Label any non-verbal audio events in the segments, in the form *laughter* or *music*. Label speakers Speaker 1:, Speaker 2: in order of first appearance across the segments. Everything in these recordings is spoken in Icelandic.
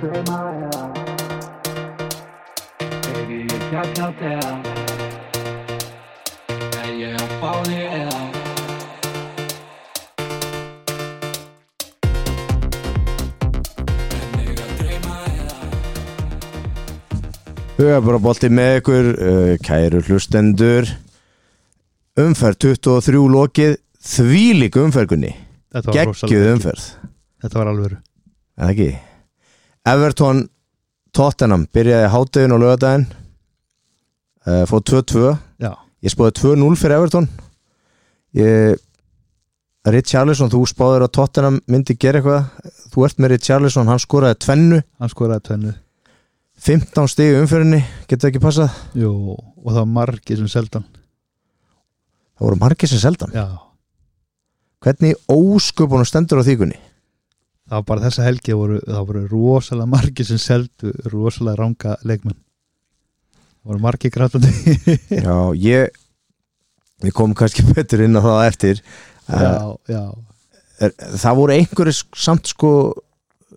Speaker 1: through my eyes. Baby, you got no doubt. And you're falling out.
Speaker 2: Hugabrabolti með ykkur, uh, kæru hlustendur Umferð 23 lokið, þvílík umfergunni
Speaker 3: Þetta var
Speaker 2: Gekkið
Speaker 3: rosalega mikið.
Speaker 2: umferð,
Speaker 3: Þetta var alvöru
Speaker 2: eða ekki Everton Tottenham byrjaði háttegin og lögadaginn uh, Fóð 2-2
Speaker 3: Já,
Speaker 2: Ég spóði 2-0 fyrir Everton Ég Richarlison, þú spáður að Tottenham myndi gera eitthvað Þú ert með Richarlison, hann skoraði tvennu
Speaker 3: hann skoraði tvennu
Speaker 2: 15 stig í umferðinni, getur ekki passað
Speaker 3: Jú, og það var margir sem seldan
Speaker 2: Það voru margir sem seldan
Speaker 3: Já,
Speaker 2: Hvernig ósköpunum stendur á
Speaker 3: *laughs*
Speaker 2: þýkunni?
Speaker 3: það var bara þessa helgi voru, það voru rosalega margir sem seldu rosalega ranga leikmenn Það voru margir grátandi
Speaker 2: *laughs* Já, ég Við komum kannski *laughs* betur inn á það á eftir uh,
Speaker 3: Já, já,
Speaker 2: er, Það voru einhverju sk- samt sko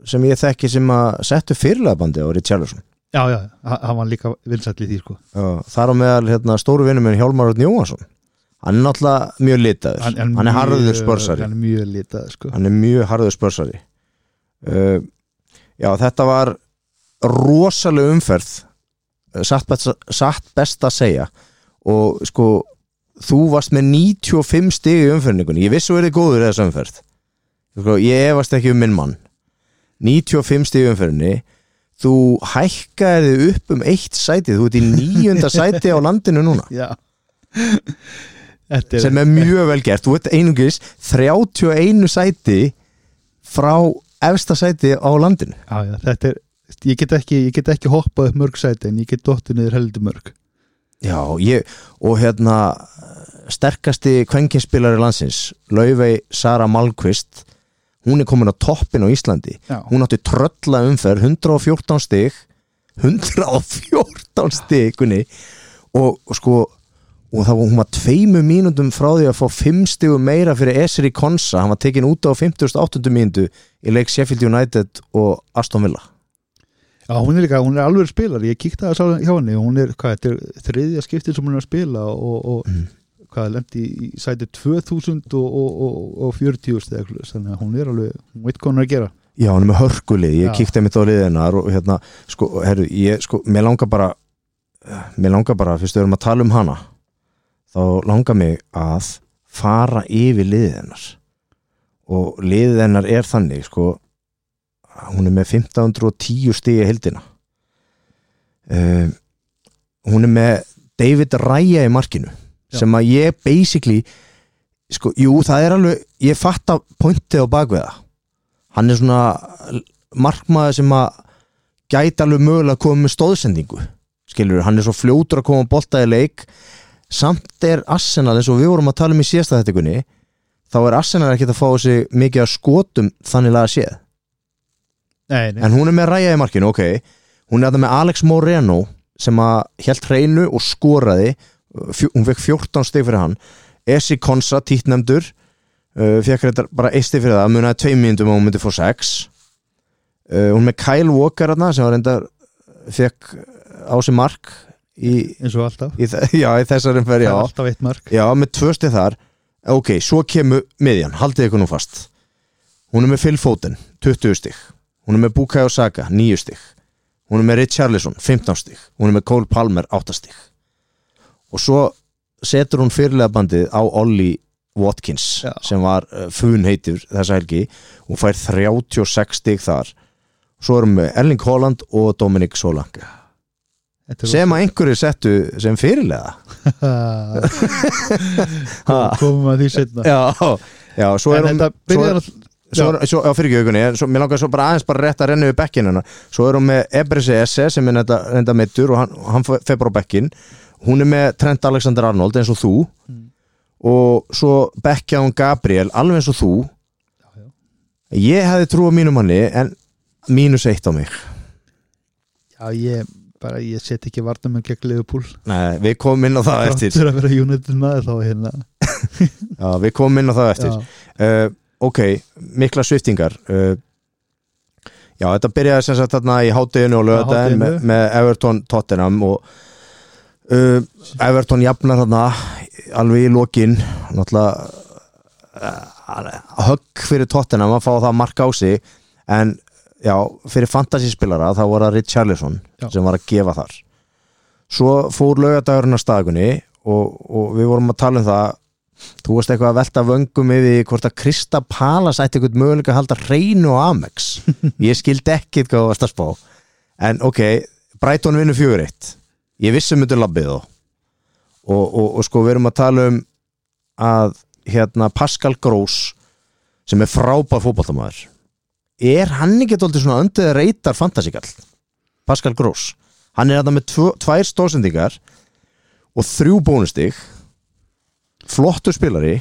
Speaker 2: sem ég þekki sem að settu fyrirlegabandi á Richarlison
Speaker 3: já, já, ha- hann var líka vinsæll í því sko
Speaker 2: uh, Þar á meðal hérna, stóru vinnum minn Hjálmar Örn Jóhansson Hann er náttúrulega mjög litaður Hann, er
Speaker 3: mjög-
Speaker 2: harður spörsari
Speaker 3: Hann er mjög litað sko
Speaker 2: Hann er mjög harður spörsari uh, Já, þetta var rosaleg umferð uh, satt best, satt best að segja og sko þú varst með 95 stig í umferningunni ég vissu verið góður í þessu umferð sko, ég efast ekki um minn mann 95 stig í umferðinni þú hækkaði þig upp um eitt sæti, þú ert í níunda sæti á landinu núna
Speaker 3: Já *laughs* Þetta er
Speaker 2: sem er mjög vel gert þú ert einungis 31 sæti frá efsta sæti á landinu
Speaker 3: Já, já, þetta er, ég get ekki, ég get ekki hoppað upp mörg sæti en ég get dottið niður heldur mörg.
Speaker 2: já, ég, og hérna sterkasti kvenkinspilari landsins Laufey Sara Malmqvist hún er komin á toppin á Íslandi
Speaker 3: Já.
Speaker 2: hún átti trölla umferð 114 stig 114 stig kunni, og, og sko og það var, hún var tveimu mínútum frá því að fá fimm stigu meira fyrir Esri Konsa hann var tekin út á 58. mínútu í leik Sheffield United og Aston Villa
Speaker 3: Já, hún er líka, hún er alveg spilar, ég kíkti að það hjá henni, hún er, hvað, þetta er þriðja skiptið sem hún er að spila og, og
Speaker 2: Mhm.
Speaker 3: hvað, lendi í sæti 2000 og, og, og, og 40 steg, þannig að hún er alveg, hún veit hvað hún er að gera.
Speaker 2: Já, hann er með hörkulið, ég
Speaker 3: Já.
Speaker 2: kíkti mitt á liðinar og hérna, sko, herru, ég, sko, mér langar bara, mér langar bara, fyrst við erum að tala um hana, þá langar mig að fara yfir liðið hennar og liðið hennar er þannig, sko, hún er með 1510 stíði hildina. Um, hún er með David Raya í markinu,
Speaker 3: Já.
Speaker 2: sem að ég basically, sko, jú, það er alveg, ég fatt að pointið á bakveða hann er svona markmaður sem að gæti alveg mögulega að koma með stóðsendingu skilur, hann er svo fljótur að koma að bolta í leik samt er Arsenal eins og við vorum að tala um í síðasta þettikunni þá er Arsenal ekkert að fá sig mikið að skotum þannig laga séð
Speaker 3: Nei, nei,
Speaker 2: en hún er með ræja í markinu, ok hún er þetta með Alex Moreno sem að held hreinu og skoraði uh, fjó- hún fekk 14 stig fyrir hann Esi Konsa, títnemdur uh, fekk þetta bara eitt stig fyrir það munaði tveim mínútum og hún myndi fór 6 uh, hún er með Kyle Walker hana, sem var reyndar fekk á sig mark í,
Speaker 3: eins og alltaf,
Speaker 2: í, þe- *laughs* já, í þessar
Speaker 3: það
Speaker 2: umferð
Speaker 3: er
Speaker 2: já.
Speaker 3: alltaf eitt mark.
Speaker 2: Já, með tvö stið þar Ok, svo kemur miðjan, haldið ykkur nú fast Hún er með Phil Foden 20 stig, hún er með Bukayo Saka 9 stig, hún er með Richarlison 15 stig, hún er með Cole Palmer 8 stig og svo setur hún fyrirlega bandið á Ollie Watkins
Speaker 3: Já.
Speaker 2: sem var uh, fun heitur þessa helgi hún fær 36 stig þar svo erum við Erling Haaland og Dominic Solanke
Speaker 3: Þetta er
Speaker 2: sem að einhverju settu sem fyrirlega
Speaker 3: Kom- komum að því setna.
Speaker 2: Já, já, svo
Speaker 3: En
Speaker 2: er hún
Speaker 3: þetta byrjar að,
Speaker 2: svo, er- svo, Já, fyrir ekki aukunni svo, Mér langar svo bara aðeins bara rétt að renna við bekkin hennar Svo er hún með Ebrisi S sem er netta, netta meittur og hann, hann fe- fer bara á bekkin Hún er með Trent Alexander Arnold eins og þú
Speaker 3: Mm.
Speaker 2: og svo bekkja hún Gabriel alveg eins og þú
Speaker 3: já.
Speaker 2: Ég hefði trú á mínum manni en mínus eitt á mig
Speaker 3: já, ég, bara, ég set ekki varnamenn gegn Leopold.
Speaker 2: Nei, Við komum inn á það eftir
Speaker 3: Þráttur að vera United maður þá hérna
Speaker 2: já, Við Eh, komum inn á það eftir
Speaker 3: Já,
Speaker 2: uh, ok, mikla sviftingar uh, Eh, Já, þetta byrjaði sem sagt þarna í hátteginu og lögadaginn
Speaker 3: hádeginu.
Speaker 2: með, með Everton Tottenham og uh, Everton jafnar þarna alveg í lokin náttúrulega uh, högg fyrir Tottenham að fá það mark á sig en já, fyrir fantasyspilara þá var það Richarlison
Speaker 3: Já.
Speaker 2: sem var að gefa þar svo fór lögadagurinn að staðgunni og, og við vorum að tala um það þú varst eitthvað að velta vöngum yfir því hvort að Krista Palas ætti eitthvað möguleika að halda reynu á Amex ég skildi ekkit hvað þú varst að spá en ok, Brighton vinnur fjögur eitt ég vissi um þetta labbið þó og, og, og sko við erum að tala um að hérna Pascal Gross sem er frábær fótballtamaður er hann ekki dóldi svona öndið reytar fantasíkall Pascal Gross hann er þetta með tvo, tvær stóðsendingar og þrjú bónustig flottur spilari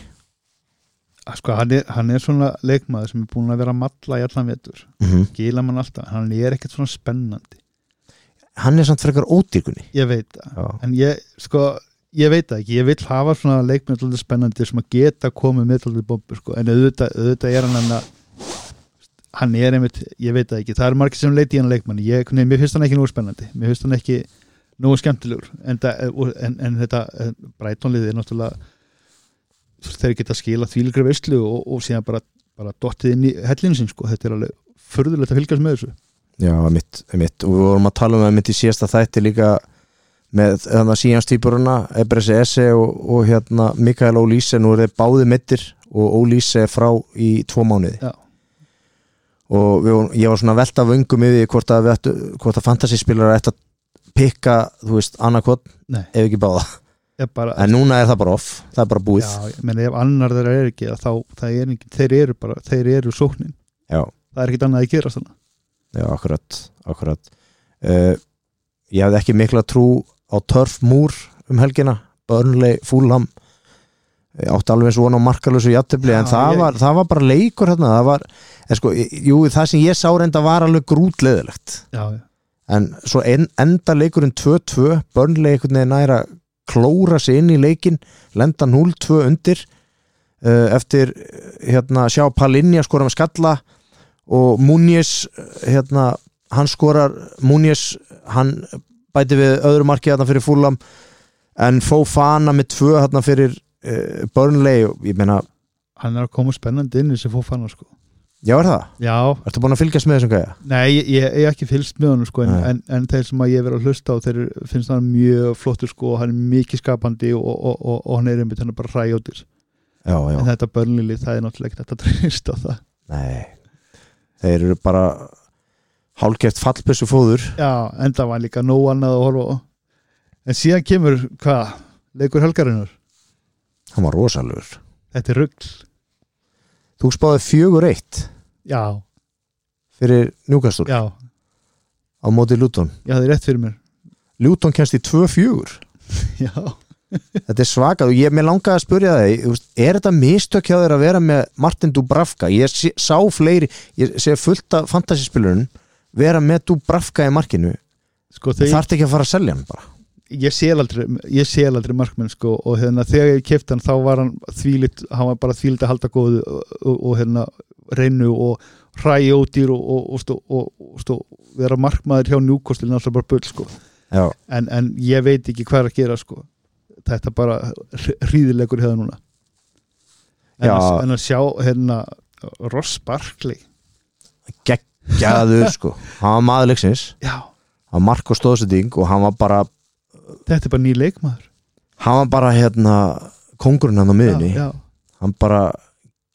Speaker 3: sko, hann, er, hann er svona leikmaður sem er búin að vera að malla í allan vetur gila mann alltaf, hann er ekkert svona spennandi
Speaker 2: hann er samt frekar ódýrkunni
Speaker 3: ég veit það,
Speaker 2: já,
Speaker 3: en ég sko ég veit það ekki, ég vil hafa svona leikmenn alltaf spennandi sem að geta komið með alltaf bombu sko, en auðvitað, auðvitað er hann hann hann er einmitt, ég veit það ekki það er margir sem leiti í hann leikmann ég, nei, mér finnst hann ekki nógu spennandi, mér finnst hann ekki nógu skemmtilegur en, það- en, en þetta breytónlið er náttúrulega þú veist, þeir geta skila þvílgri veislu og, og síðan bara, bara dottið inn í hellinu sín sko, þetta er alveg förðulegt að fylgjast með þessu
Speaker 2: já mitt, mitt og við vorum að tala um það mitt í síðasta þætti líka með þannig að síjanstýpuruna Ebresi Esse og, og hérna Mikael Ólíse, nú eru þeir báði mittir og Ólíse er frá í tvo mánuði
Speaker 3: Já.
Speaker 2: og við, vorum- ég var svona að velta vöngum yfir því hvort að, við ættu, hvort að fantasyspilar ættu að pikka, þú veist, annarkot
Speaker 3: Nei.
Speaker 2: ef ekki báða,
Speaker 3: Ég bara,
Speaker 2: en núna er það bara off það er bara búið,
Speaker 3: Já, ég meina ef annar þeirra er ekki þá, það er engin, þeir eru bara, þeir eru sóknin,
Speaker 2: já.
Speaker 3: það er ekkit annað að gera þannig.
Speaker 2: Já, akkurat, akkurat. Uh, Ég hafði ekki mikla trú á Törf Múr um helgina Burnley, Fulham Ég átti alveg svona á markalösu játtöfli
Speaker 3: Já,
Speaker 2: en það,
Speaker 3: ég-
Speaker 2: var, það var bara leikur hérna það var, en sko, jú, það sem ég sá reynda var alveg grútleðilegt
Speaker 3: Já, já.
Speaker 2: en svo en, enda leikurinn 2-2, Burnley einhvern veginn næra klóra sig inn í leikin lenda 0-2 undir uh, eftir eh, hérna, sjá Palinja skora með skalla og Munjes hérna, hann skorar Munjes, hann bæti við öðru marki hérna fyrir Fulham en fó fana með tvö hérna fyrir uh, Burnley og ég meina,
Speaker 3: Hann er að koma spennandi inn í þessi fófanna sko.
Speaker 2: já er það
Speaker 3: Já,
Speaker 2: ertu búin að fylgjast með þessum gæja?
Speaker 3: nei, ég, ég ég hef ekki fylgst með honum sko, en,
Speaker 2: Nei.
Speaker 3: en, en þeir sem að ég hef verið að hlusta á þeir eru- finnst hann mjög flottur sko og hann er mikið skapandi og, og, og, og, hann er einmitt hann er bara ræjóttir.
Speaker 2: Já, já,
Speaker 3: En þetta börnlili, það er náttúrulega ekkert hægt að treysta á það.
Speaker 2: nei þeir eru bara hálgeft fallbessu fóður
Speaker 3: Já, en það var líka nóg annað að horfa á. En síðan kemur, hvað, leikur helgarinnar?
Speaker 2: hann var rosalegur
Speaker 3: Þetta er rugl.
Speaker 2: þú spáði fjögur eitt
Speaker 3: Já,
Speaker 2: fyrir Newcastle
Speaker 3: já,
Speaker 2: á móti Luton
Speaker 3: já, það er rétt fyrir mér.
Speaker 2: Luton kemst í 2-4
Speaker 3: Já.
Speaker 2: þetta er svakað og ég með langaði að spurja þig þú veist, er þetta mistök hjá þér að vera með Martin Dubravka ég sé, sá fleiri, ég sé fullt af fantasyspilurinn vera með Dubravka í markinu
Speaker 3: sko
Speaker 2: Þeir...
Speaker 3: þegar
Speaker 2: þarf ekki að fara að selja hann bara
Speaker 3: ég sél aldrei, ég sél aldrei markmenn sko og hérna þegar ég kefti hann þá var hann þvílitt, hann var bara þvílitt að halda góðu og, og, og hérna reynu og hræi ódýr og, og, og, stó, og, og stó, vera markmaður hjá njúkostilin alltaf bara bull sko
Speaker 2: já,
Speaker 3: en, en ég veit ekki hvað er að gera sko þetta bara hríðilegur hefða núna en,
Speaker 2: Já.
Speaker 3: að, en að sjá hérna Ross Barkley
Speaker 2: geggjaður sko hann var maður leiksins,
Speaker 3: já,
Speaker 2: hann var Marko Stóðsending og hann var bara,
Speaker 3: þetta er bara ný leikmaður
Speaker 2: hann var bara hérna kongurinn hann á miðinni
Speaker 3: já, já,
Speaker 2: hann bara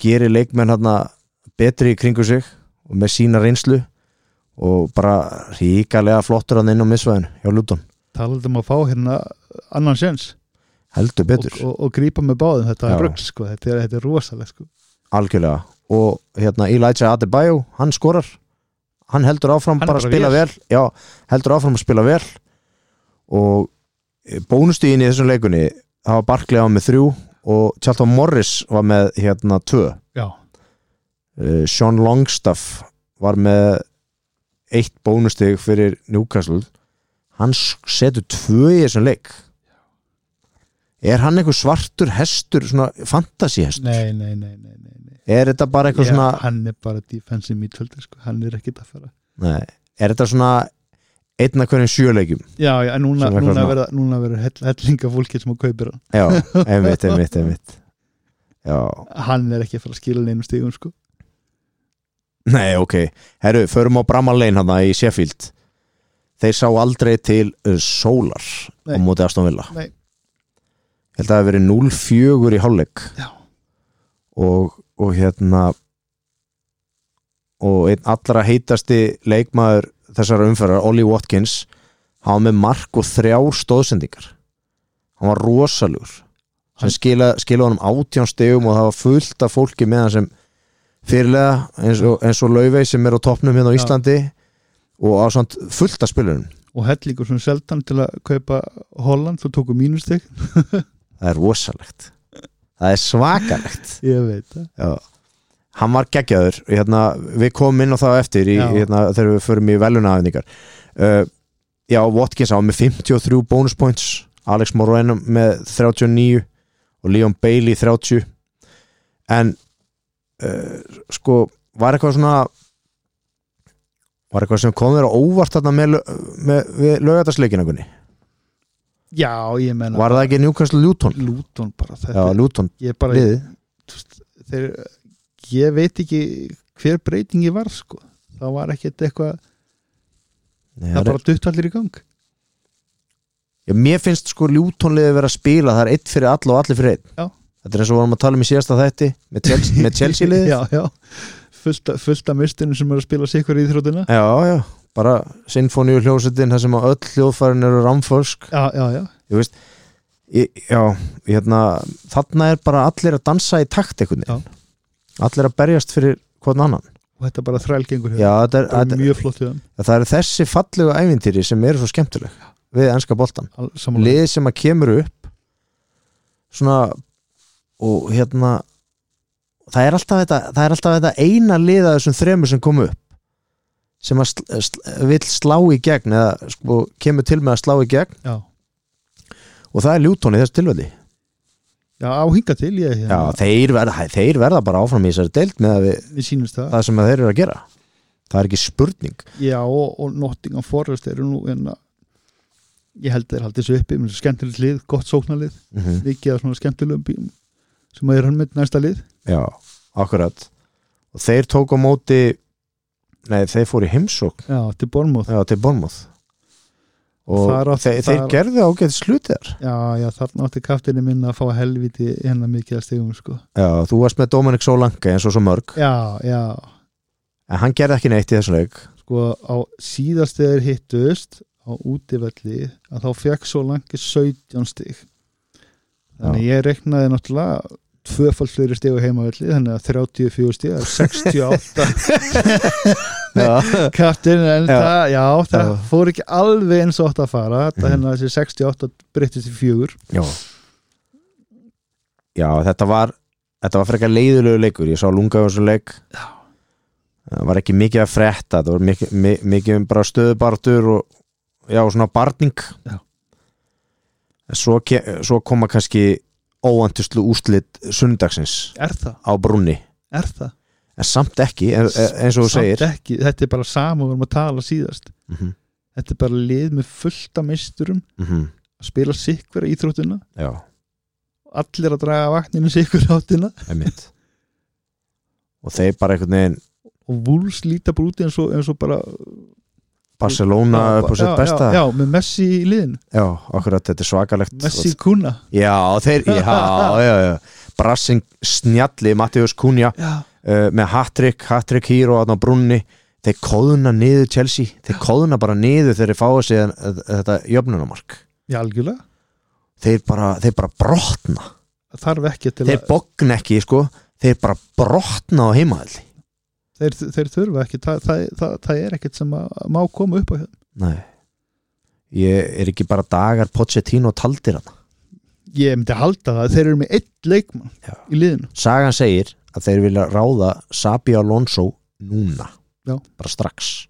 Speaker 2: gerir leikmenn hérna betri í kringu sig og með sína reynslu og bara ríkalega flottur hann inn á misvæðinu hjá Luton,
Speaker 3: talaðum að fá hérna annan sjens
Speaker 2: heldur betur
Speaker 3: og, og, og grípa með báðum þetta
Speaker 2: Já.
Speaker 3: er rugl sko, þetta er, þetta er rosalega sko.
Speaker 2: algjörlega og hérna Elijah Adebayo, hann skorar hann heldur áfram
Speaker 3: Hann er
Speaker 2: bara að
Speaker 3: bara
Speaker 2: spila vel,
Speaker 3: vel.
Speaker 2: já, heldur áfram að spila vel og eh, bónustíðin í þessum leikunni það var Barkley á með þrjú og Charlton Morris var með hérna tvö
Speaker 3: já,
Speaker 2: Eh, Sean Longstaff var með eitt bónustig fyrir Newcastle hann s- setur tvö í þessum leik er hann einhver svartur hestur svona fantasíhestur
Speaker 3: nei, nei, nei, nei, nei, nei.
Speaker 2: er þetta bara eitthvað
Speaker 3: Já,
Speaker 2: svona
Speaker 3: hann er bara defensive midfielder sko. hann er ekkit að fara
Speaker 2: Nei. er þetta svona einn af hverjum sjöleikjum
Speaker 3: já, já, en
Speaker 2: Svona
Speaker 3: núna,
Speaker 2: eitthvað
Speaker 3: núna
Speaker 2: svona-
Speaker 3: verða núna verður hell, hellinga fólki sem að kaupir hann
Speaker 2: já,
Speaker 3: *laughs*
Speaker 2: einmitt, einmitt, einmitt já,
Speaker 3: hann er ekki að fara að skila neinum stígum sko.
Speaker 2: nei, ok herru, förum á Bramalein hann í Sheffield þeir sá aldrei til uh, sólar
Speaker 3: Nei.
Speaker 2: á móti Aston Villa
Speaker 3: Nei.
Speaker 2: Ég held að það hafi verið 0-4 í hálfleik
Speaker 3: Já.
Speaker 2: og, og hérna og einn allra heitasti leikmaður þessara umferðar, Ollie Watkins hann var með mark og þrjár stóðsendingar hann var rosalur sem skila, skila honum átján stegum og það var fullt af fólki með hann sem fyrirlega eins og, eins og Laufey sem er á toppnum hérna á
Speaker 3: Já.
Speaker 2: Íslandi og á samt fullt af spilunum
Speaker 3: og hellingur sem seldan til að kaupa Holland, þú tóku mínustík
Speaker 2: það er rosalegt það er svakalegt
Speaker 3: ég veit það
Speaker 2: Já. hann var geggjaður hérna, við komum inn á það á eftir í,
Speaker 3: Já.
Speaker 2: hérna, þegar við förum í velunahæfningar uh, já, Watkins á með 53 bonus points Alex Moreno með 39 og Leon Bailey 30 en uh, sko, var eitthvað svona var eitthvað sem kom þér á óvart þarna með, lau- með, með lögatarsleikinakunni
Speaker 3: já, ég menna
Speaker 2: var það ekki Newcastle Luton?
Speaker 3: Luton bara
Speaker 2: Já,
Speaker 3: þetta,
Speaker 2: Luton,
Speaker 3: ég bara
Speaker 2: liðið
Speaker 3: þú veist, þeir, ég veit ekki hver breytingi var sko það var ekkert eitthvað,
Speaker 2: Nei,
Speaker 3: það bara dutt allir í gang
Speaker 2: Já, mér finnst sko ljútonliði verið að spila það er eitt fyrir all og allir fyrir einn
Speaker 3: Já.
Speaker 2: þetta er eins og vorum að tala um í síðasta þætti með
Speaker 3: *laughs*
Speaker 2: Chelsea, með Chelsea liði
Speaker 3: já, já, fullt, af- fullt af mistinu sem er að spila sikur í þrótuna
Speaker 2: já, já, bara sinfóníu hljósetin þar sem að öll hljóðfærin eru rámfölsk
Speaker 3: já, já, já,
Speaker 2: Í- já, hérna þarna er bara allir að dansa í takt einhvern veginn allir að berjast fyrir hvern annan
Speaker 3: og þetta bara þrælgengur
Speaker 2: já, þetta er,
Speaker 3: það
Speaker 2: þetta,
Speaker 3: er mjög flott við hann
Speaker 2: það eru þessi fallega ævintýri sem eru svo skemmtileg við enska boltan
Speaker 3: al- sammála.
Speaker 2: lið sem að kemur upp svona og hérna það er alltaf þetta, það er alltaf þetta eina lið að þessum þremur sem kom upp sem að sl, sl, vill slá í gegn eða sko, kemur til með að slá í gegn
Speaker 3: já,
Speaker 2: og það er ljútón í þessu tilvæli
Speaker 3: já, á hinga til ég
Speaker 2: Já,
Speaker 3: hérna,
Speaker 2: þeir, verða, þeir verða bara áfram í þessari deild með að við,
Speaker 3: mér sýnist það
Speaker 2: það sem að þeir eru að gera það er ekki spurning
Speaker 3: já, og, og Nottingham Forest eru nú hérna ég held að þeir haldið svo uppi, mér finnst skemmtilegt lið, gott sóknarlið,
Speaker 2: mm -hmm.
Speaker 3: mikið af svona skemmtilegum bíum sem að er hann með næsta lið
Speaker 2: Já, akkurat og þeir tóku á móti nei, þeir fóru í heimsók
Speaker 3: já, til Bormóð
Speaker 2: Já, til Bournemouth og
Speaker 3: Þar átt-
Speaker 2: þeir, þeir
Speaker 3: þar-
Speaker 2: gerðu ágætt slutið
Speaker 3: Já, já, þarna átti kaftinni minn að fá helviti hennar mikið að stegum, sko.
Speaker 2: Já, þú varst með Dominic Solanke eins og svo mörg
Speaker 3: Já, já,
Speaker 2: en hann gerði ekki neitt í þessum leik
Speaker 3: sko, á síðast þegar hittust á útivelli að þá fekk svo langi 17 stig. Þannig ég reknaði náttúrulega tvöfald fleiri stig á heimavelli, þannig að 34 stig, það er *laughs* 68
Speaker 2: Já,
Speaker 3: kaftin, en
Speaker 2: Já.
Speaker 3: það, já, það
Speaker 2: Já.
Speaker 3: fór ekki alveg eins og átt að fara, þetta
Speaker 2: Mhm.
Speaker 3: hennar þessi 68 breyttist í fjögur.
Speaker 2: Já. Já þetta var þetta var frekar leiðulegu leikur ég sá lungaði þessu leik
Speaker 3: Já.
Speaker 2: það var ekki mikið að fretta það var mikið, mi- mikið um bara stöðubartur og já, svona barning
Speaker 3: Já.
Speaker 2: En svo, ke- svo koma kannski óvanduslu úslit sundagsins
Speaker 3: Er það?
Speaker 2: á brunni
Speaker 3: Er það?
Speaker 2: en samt ekki, en- en- eins og þú segir
Speaker 3: Samt ekki, þetta er bara sama og við erum að tala síðast.
Speaker 2: Mhm,
Speaker 3: þetta er bara lið með fullta misturum
Speaker 2: mhm,
Speaker 3: að spila sikkur íþróttuna
Speaker 2: Já,
Speaker 3: allir að draga vagninu sikkur áttina
Speaker 2: einmitt og þeir bara einhvern veginn
Speaker 3: og Wolves líta bara út eins og, eins og bara
Speaker 2: Barcelona
Speaker 3: Já,
Speaker 2: upp á sitt
Speaker 3: já,
Speaker 2: besta
Speaker 3: já, já, með Messi í liðin,
Speaker 2: Já, akkurat, þetta er svakalegt
Speaker 3: Messi kuna
Speaker 2: Já, þeir, já, já, já Brassin snjalli, Mattius Kunja
Speaker 3: já,
Speaker 2: uh, með hat-trick, hat-trick hér og þarna á brunni þeir kóðuna niður Chelsea þeir kóðuna bara niður þegar þeir fáið sér þetta jöfnunamark
Speaker 3: já algjörlega
Speaker 2: þeir bara, þeir bara brotna
Speaker 3: þarf ekki til
Speaker 2: þeir
Speaker 3: að
Speaker 2: bogna ekki, sko þeir bara brotna á heimaðli
Speaker 3: þeir, þeir þurfa ekki, það, það, það, það er ekkert sem að má koma upp á hérna
Speaker 2: Nei Ég er ekki bara dagar Pochettino taldir hana
Speaker 3: ég myndi halda það, þeir eru með einn leikmann
Speaker 2: Já.
Speaker 3: í liðinu
Speaker 2: Sagan segir að þeir vilja ráða Sabi Alonso núna
Speaker 3: Já.
Speaker 2: bara strax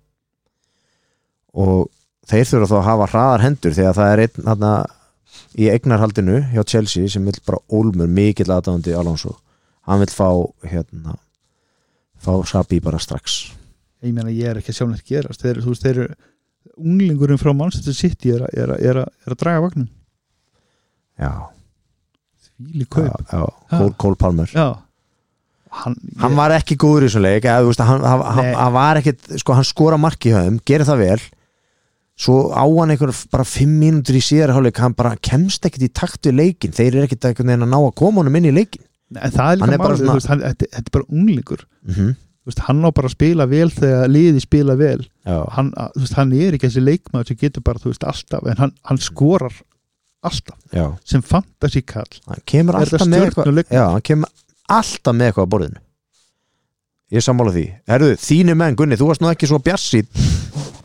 Speaker 2: og þeir þurfa þá að hafa hraðar hendur þegar það er einn hana, í eignarhaldinu hjá Chelsea sem vil bara ólmur mikill aðdáðandi Alonso hann vil fá hérna fá Sabi bara strax
Speaker 3: ég meina ég er ekki að sjá neitt gerast þeir, þú veist, þeir eru unglingurinn frá Manchester City er að, er að, er að, er að draga vagnin
Speaker 2: já,
Speaker 3: því
Speaker 2: já,
Speaker 3: kaup
Speaker 2: já. Cole, Cole Palmer
Speaker 3: já, hann,
Speaker 2: hann var ekki góður í þessu leik eða, þú veist, hann, hann, hann,
Speaker 3: Nei.
Speaker 2: hann var ekkit, sko, hann skora mark í höfum gerir það vel svo á hann einhver bara fimm mínútur í síðar hálfleik, hann bara kemst ekkit í takt við leikin, þeir eru ekkit einhvern veginn að ná að koma honum inn í leikin
Speaker 3: en það er
Speaker 2: hann
Speaker 3: líka
Speaker 2: er bara
Speaker 3: málið,
Speaker 2: svona-
Speaker 3: þú veist, hann- þetta þetta er bara unglingur
Speaker 2: mm -hmm.
Speaker 3: Þú veist, hann á bara að spila vel þegar liði spila vel
Speaker 2: já,
Speaker 3: hann, að- þú veist, hann er ekki þessi leikmaður sem getur bara, þú veist, alltaf en hann, hann skorar alltaf
Speaker 2: já,
Speaker 3: sem fantasy kall
Speaker 2: hann kemur
Speaker 3: Er
Speaker 2: alltaf
Speaker 3: það
Speaker 2: með eitthvað
Speaker 3: stjörnuleikmaður?
Speaker 2: já, hann kemur alltaf með eitthvað á borðinu ég er sammála því herðu, þínu menn Gunni, þú varst nú ekki svo bjassít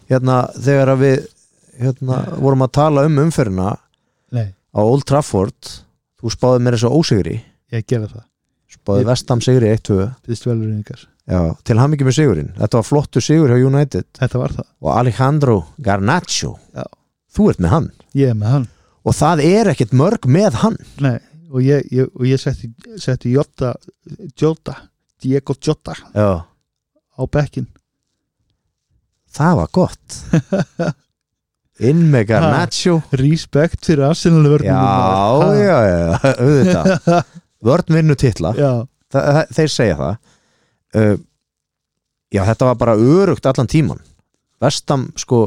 Speaker 2: hérna, þegar að við hérna, vorum að tala um umferðina
Speaker 3: Nei.
Speaker 2: á Old Trafford þú spáði mér þessu ósigri
Speaker 3: ég gera það,
Speaker 2: spáði
Speaker 3: Ég-
Speaker 2: Vestam sigri 1-2
Speaker 3: býðst velurinn ykkar
Speaker 2: Já, til hann með sigurinn, þetta var flottu sigur hjá United
Speaker 3: þetta var það,
Speaker 2: og Alejandro Garnacho
Speaker 3: Já.
Speaker 2: þú ert með hann
Speaker 3: ég er með hann
Speaker 2: og það er ekkert mörg með hann
Speaker 3: Nei, og ég, ég, og ég setti, setti Jota, Jota Diego Jota
Speaker 2: Já.
Speaker 3: á bekkin
Speaker 2: það var gott *laughs* inn með Garnacho
Speaker 3: respekt fyrir Arsenal
Speaker 2: já,
Speaker 3: vörnum
Speaker 2: já, já, auðvitað *laughs* vörn vinnu titla,
Speaker 3: já,
Speaker 2: Þa, þa- þeir segja það uh, já, þetta var bara örugt allan tíman Vestam, sko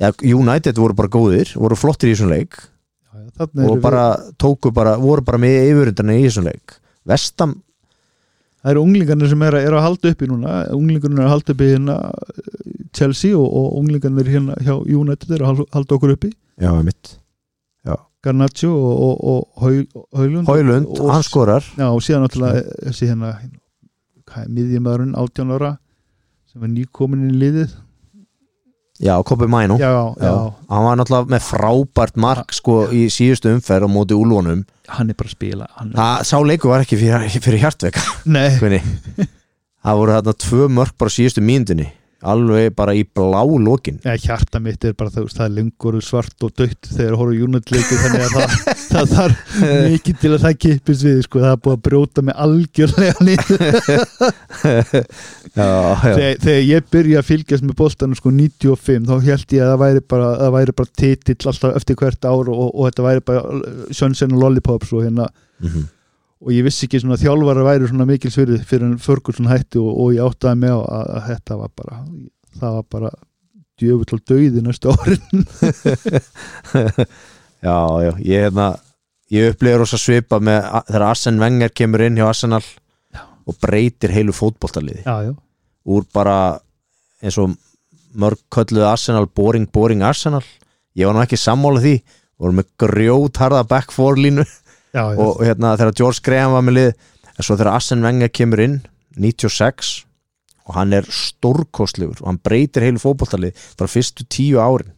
Speaker 2: ja, United voru bara góðir, voru flottir í þessum leik
Speaker 3: já, þarna
Speaker 2: og
Speaker 3: eru
Speaker 2: bara tóku bara, voru bara með yfirundarna í þessum leik Vestam,
Speaker 3: við- það eru unglingarnir sem eru er að halda upp í núna unglingarnir eru að halda upp í hérna eh, Chelsea og, og unglingarnir hérna hjá United eru að hal- halda okkur upp í
Speaker 2: já, mitt
Speaker 3: Garnaccio og, og, og Haul- Haulund
Speaker 2: Hólund,
Speaker 3: og,
Speaker 2: hann skorar
Speaker 3: já, og síðan náttúrulega eh, þessi hérna hvað er miðjumæðurinn 18 ára sem er nýkomin í liðið
Speaker 2: já, Kopi Mænu,
Speaker 3: já, já,
Speaker 2: hann var náttúrulega með frábært mark sko í síðustu umferð á móti úlvonum,
Speaker 3: hann er bara að spila hann er...
Speaker 2: það sá leiku var ekki fyrir, fyrir *laughs* hjartveka,
Speaker 3: nei,
Speaker 2: hvernig það voru þarna tvö mörk bara síðustu mínundinni alveg bara í blá lokin
Speaker 3: ja, hjarta mitt er bara það, það er lengur svart og dött þegar horfum júnatleiki þannig að það, það þarf *laughs* mikið til að það kippist við sko, það er búið að brjóta mig algjörlega niður
Speaker 2: já, já,
Speaker 3: þegar, þegar ég byrja að fylgjast með bóstanum sko 95 þá held ég að það væri bara, það væri bara titill alltaf eftir hvert ár og, og þetta væri bara uh, Sjönsson og Lollipops og hérna
Speaker 2: Mhm.
Speaker 3: og ég vissi ekki svona að þjálfara væri svona mikil svirði fyrir en Ferguson hætti og, og ég áttaði mig á að, að þetta var bara það var bara djöfull og döiði næstu árin
Speaker 2: já, já ég hefna ég upplifir rosa svipa með þegar Arsene Wenger kemur inn hjá Arsenal og breytir heilu fótboltaliði
Speaker 3: já, já,
Speaker 2: úr bara eins og mörg kölluðu Arsenal boring, boring Arsenal ég var nú ekki sammála því voru með grjótharða back four
Speaker 3: *laughs*
Speaker 2: línu
Speaker 3: já, já,
Speaker 2: og hérna þegar George Graham var með lið en svo þegar Arsene Wenger kemur inn 96 og hann er stórkostlegur og hann breytir heilu fótboltalið bara fyrstu tíu árin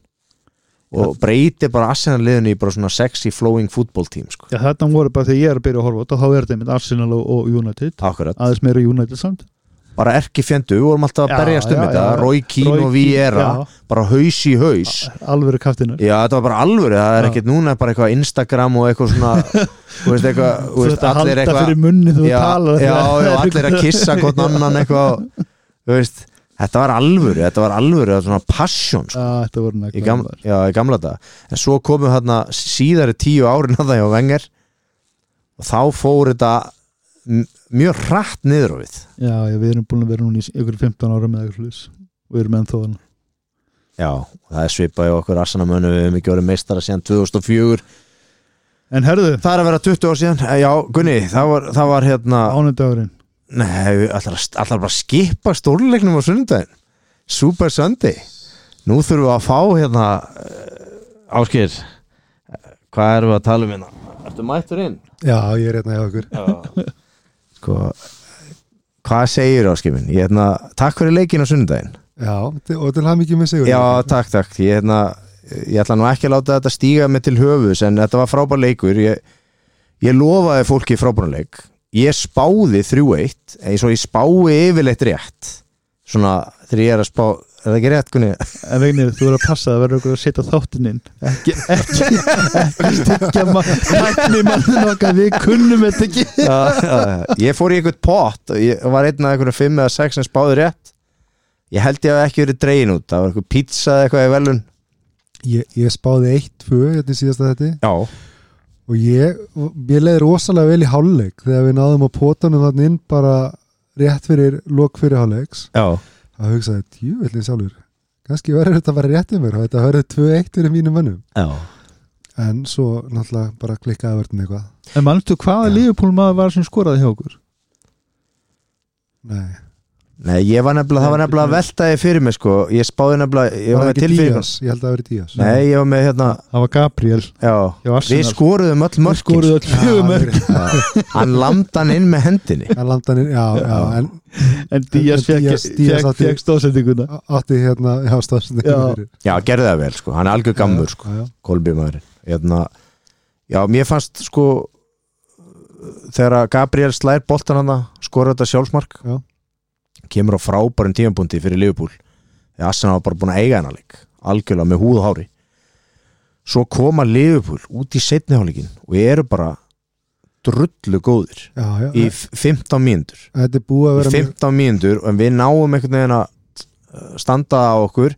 Speaker 2: og
Speaker 3: Hérna-
Speaker 2: breytir bara Arsenal liðinu í bara svona sexy flowing football team sko.
Speaker 3: já þetta voru bara þegar ég er að byrja að horfa á þetta þá er þetta einmitt Arsenal og, og United
Speaker 2: akkurat,
Speaker 3: aðeins meira United samt
Speaker 2: bara erki fjendu við vorum alltaf að
Speaker 3: Já,
Speaker 2: berjast um
Speaker 3: já,
Speaker 2: þetta
Speaker 3: já.
Speaker 2: Roy Keane
Speaker 3: Roy
Speaker 2: og
Speaker 3: Keane,
Speaker 2: Vieira
Speaker 3: já.
Speaker 2: bara haus í haus
Speaker 3: alveg kaftinar
Speaker 2: Já, þetta var bara alvöru, það er
Speaker 3: Já.
Speaker 2: ekkert núna bara eitthvað Instagram og eitthvað
Speaker 3: *laughs*
Speaker 2: svona þú veist eitthvað, þú
Speaker 3: þú
Speaker 2: veist,
Speaker 3: ert að
Speaker 2: allir
Speaker 3: halda
Speaker 2: eitthvað
Speaker 3: fyrir munni þú
Speaker 2: já,
Speaker 3: talar
Speaker 2: já, já, allir að kissa
Speaker 3: *laughs*
Speaker 2: hvort annan eitthvað, þú veist þetta var alvöru, þetta var alvöru, þetta var svona passion sko,
Speaker 3: Já, þetta voru
Speaker 2: í,
Speaker 3: nægt
Speaker 2: gamla, já, í gamla dag, en svo komu þarna síðari tíu árin að það hjá Venger og þá fór þetta m- mjög hratt niður á við
Speaker 3: já, já, við erum búin að vera núna í ykkur 15 ára með eitthvað slús og við erum ennþá hann
Speaker 2: Já, og það er svipað í okkur assanamönu, við hefum ekki voru meistara síðan 2004,
Speaker 3: en herðu,
Speaker 2: það er að vera 20 ár síðan, já, Gunni, það var, það var hérna
Speaker 3: ánundagurinn
Speaker 2: Nei, allar, allar bara að skipa stórleiknum á sunnudaginn Super Sunday Nú þurfum við að fá hérna uh, Áskir eh, Hvað erum við að tala um hérna? Ertu mættur inn?
Speaker 4: Já, ég er hérna hjá okkur
Speaker 2: *laughs* Sko, hvað segir Áskir minn? Ég hérna, takk fyrir leikinn á sunnudaginn
Speaker 4: Já, til- og til hann ekki með sigur
Speaker 2: Já, takk, takk Ég hérna, ég ætla nú ekki að láta þetta stíga mig til höfuðs en þetta var frábær leikur Ég, ég lofaði fólki frábæran leik Ég spáði 3-1 eins og ég spái yfirleitt rétt svona þegar ég er að spá Er það ekki rétt, *laughs* Gunni?
Speaker 3: En vegnir, þú verður að passa að verður okkur að setja þáttinn inn ekki, ekki, ekki stekja mætni mannin okkar við kunnum þetta ekki
Speaker 2: Já, já, já. ég fór í einhvern pott og ég var einn af einhverjum fimm eða sex sem spáði rétt ég held ég að ekki verið dregin út það var eitthvað pizza eða eitthvað í velun
Speaker 4: Ég, ég spáði 1-2 hérna í síðasta þetta
Speaker 2: já,
Speaker 4: og ég, ég leiði rosalega vel í hálfleik þegar við náðum að potanum þannig inn bara rétt fyrir lok fyrir hálfleiks
Speaker 2: já,
Speaker 4: að hugsaði, djúvillin sjálfur kannski verður þetta bara rétt í mér og þetta verður 2-1 fyrir mínum mönnum
Speaker 2: já.
Speaker 4: en svo náttúrulega bara klikkaði verðin eitthvað
Speaker 3: En mannstu hvaða
Speaker 2: Já.
Speaker 3: lífupúl maður var sem skoraði hjá okkur?
Speaker 4: Nei,
Speaker 2: Nei, ég var nefnilega, það var nefnilega að veltaði fyrir mig sko, ég spáði nefnilega, ég var
Speaker 4: það
Speaker 2: með tilfinningun
Speaker 4: Díaz, ég held að það verið Díaz
Speaker 2: Nei, ég var með hérna,
Speaker 3: Það var Gabriel
Speaker 2: já,
Speaker 3: hjá
Speaker 2: við
Speaker 3: Arsenal
Speaker 2: skoruðum öll
Speaker 3: Við
Speaker 2: mörkin
Speaker 3: skoruðu öll
Speaker 4: Já,
Speaker 3: fjögur mörg
Speaker 4: verið-
Speaker 2: sko. hann lamdi hann inn með hendinni
Speaker 4: Hann landa hann inn,
Speaker 2: *laughs*
Speaker 4: já, já, en
Speaker 3: En Díaz
Speaker 4: En Díaz- Díaz átti-
Speaker 3: fekk stóðsendinguna
Speaker 4: átti hérna, já, stafsinn
Speaker 3: Já.
Speaker 2: Já, gerði það vel sko, hann er algjör gammur sko, kolbjumæðurinn hérna, Já, mér fannst sko þegar að Gabriel slær boltan hann skoraði þetta sjálfsmark
Speaker 4: Já.
Speaker 2: kemur á frábærum tímapunkti fyrir Liverpool þegar Arsenal var bara búin að eiga hennar leik algjörlega með húð og hári svo koma Liverpool út í setniháleikin og eru bara drullu góðir
Speaker 4: Já, já,
Speaker 2: í f- 15 mínútur
Speaker 4: þetta er búið
Speaker 2: í
Speaker 4: að vera
Speaker 2: 15 mínútur en við náum einhvern veginn að uh, standa á okkur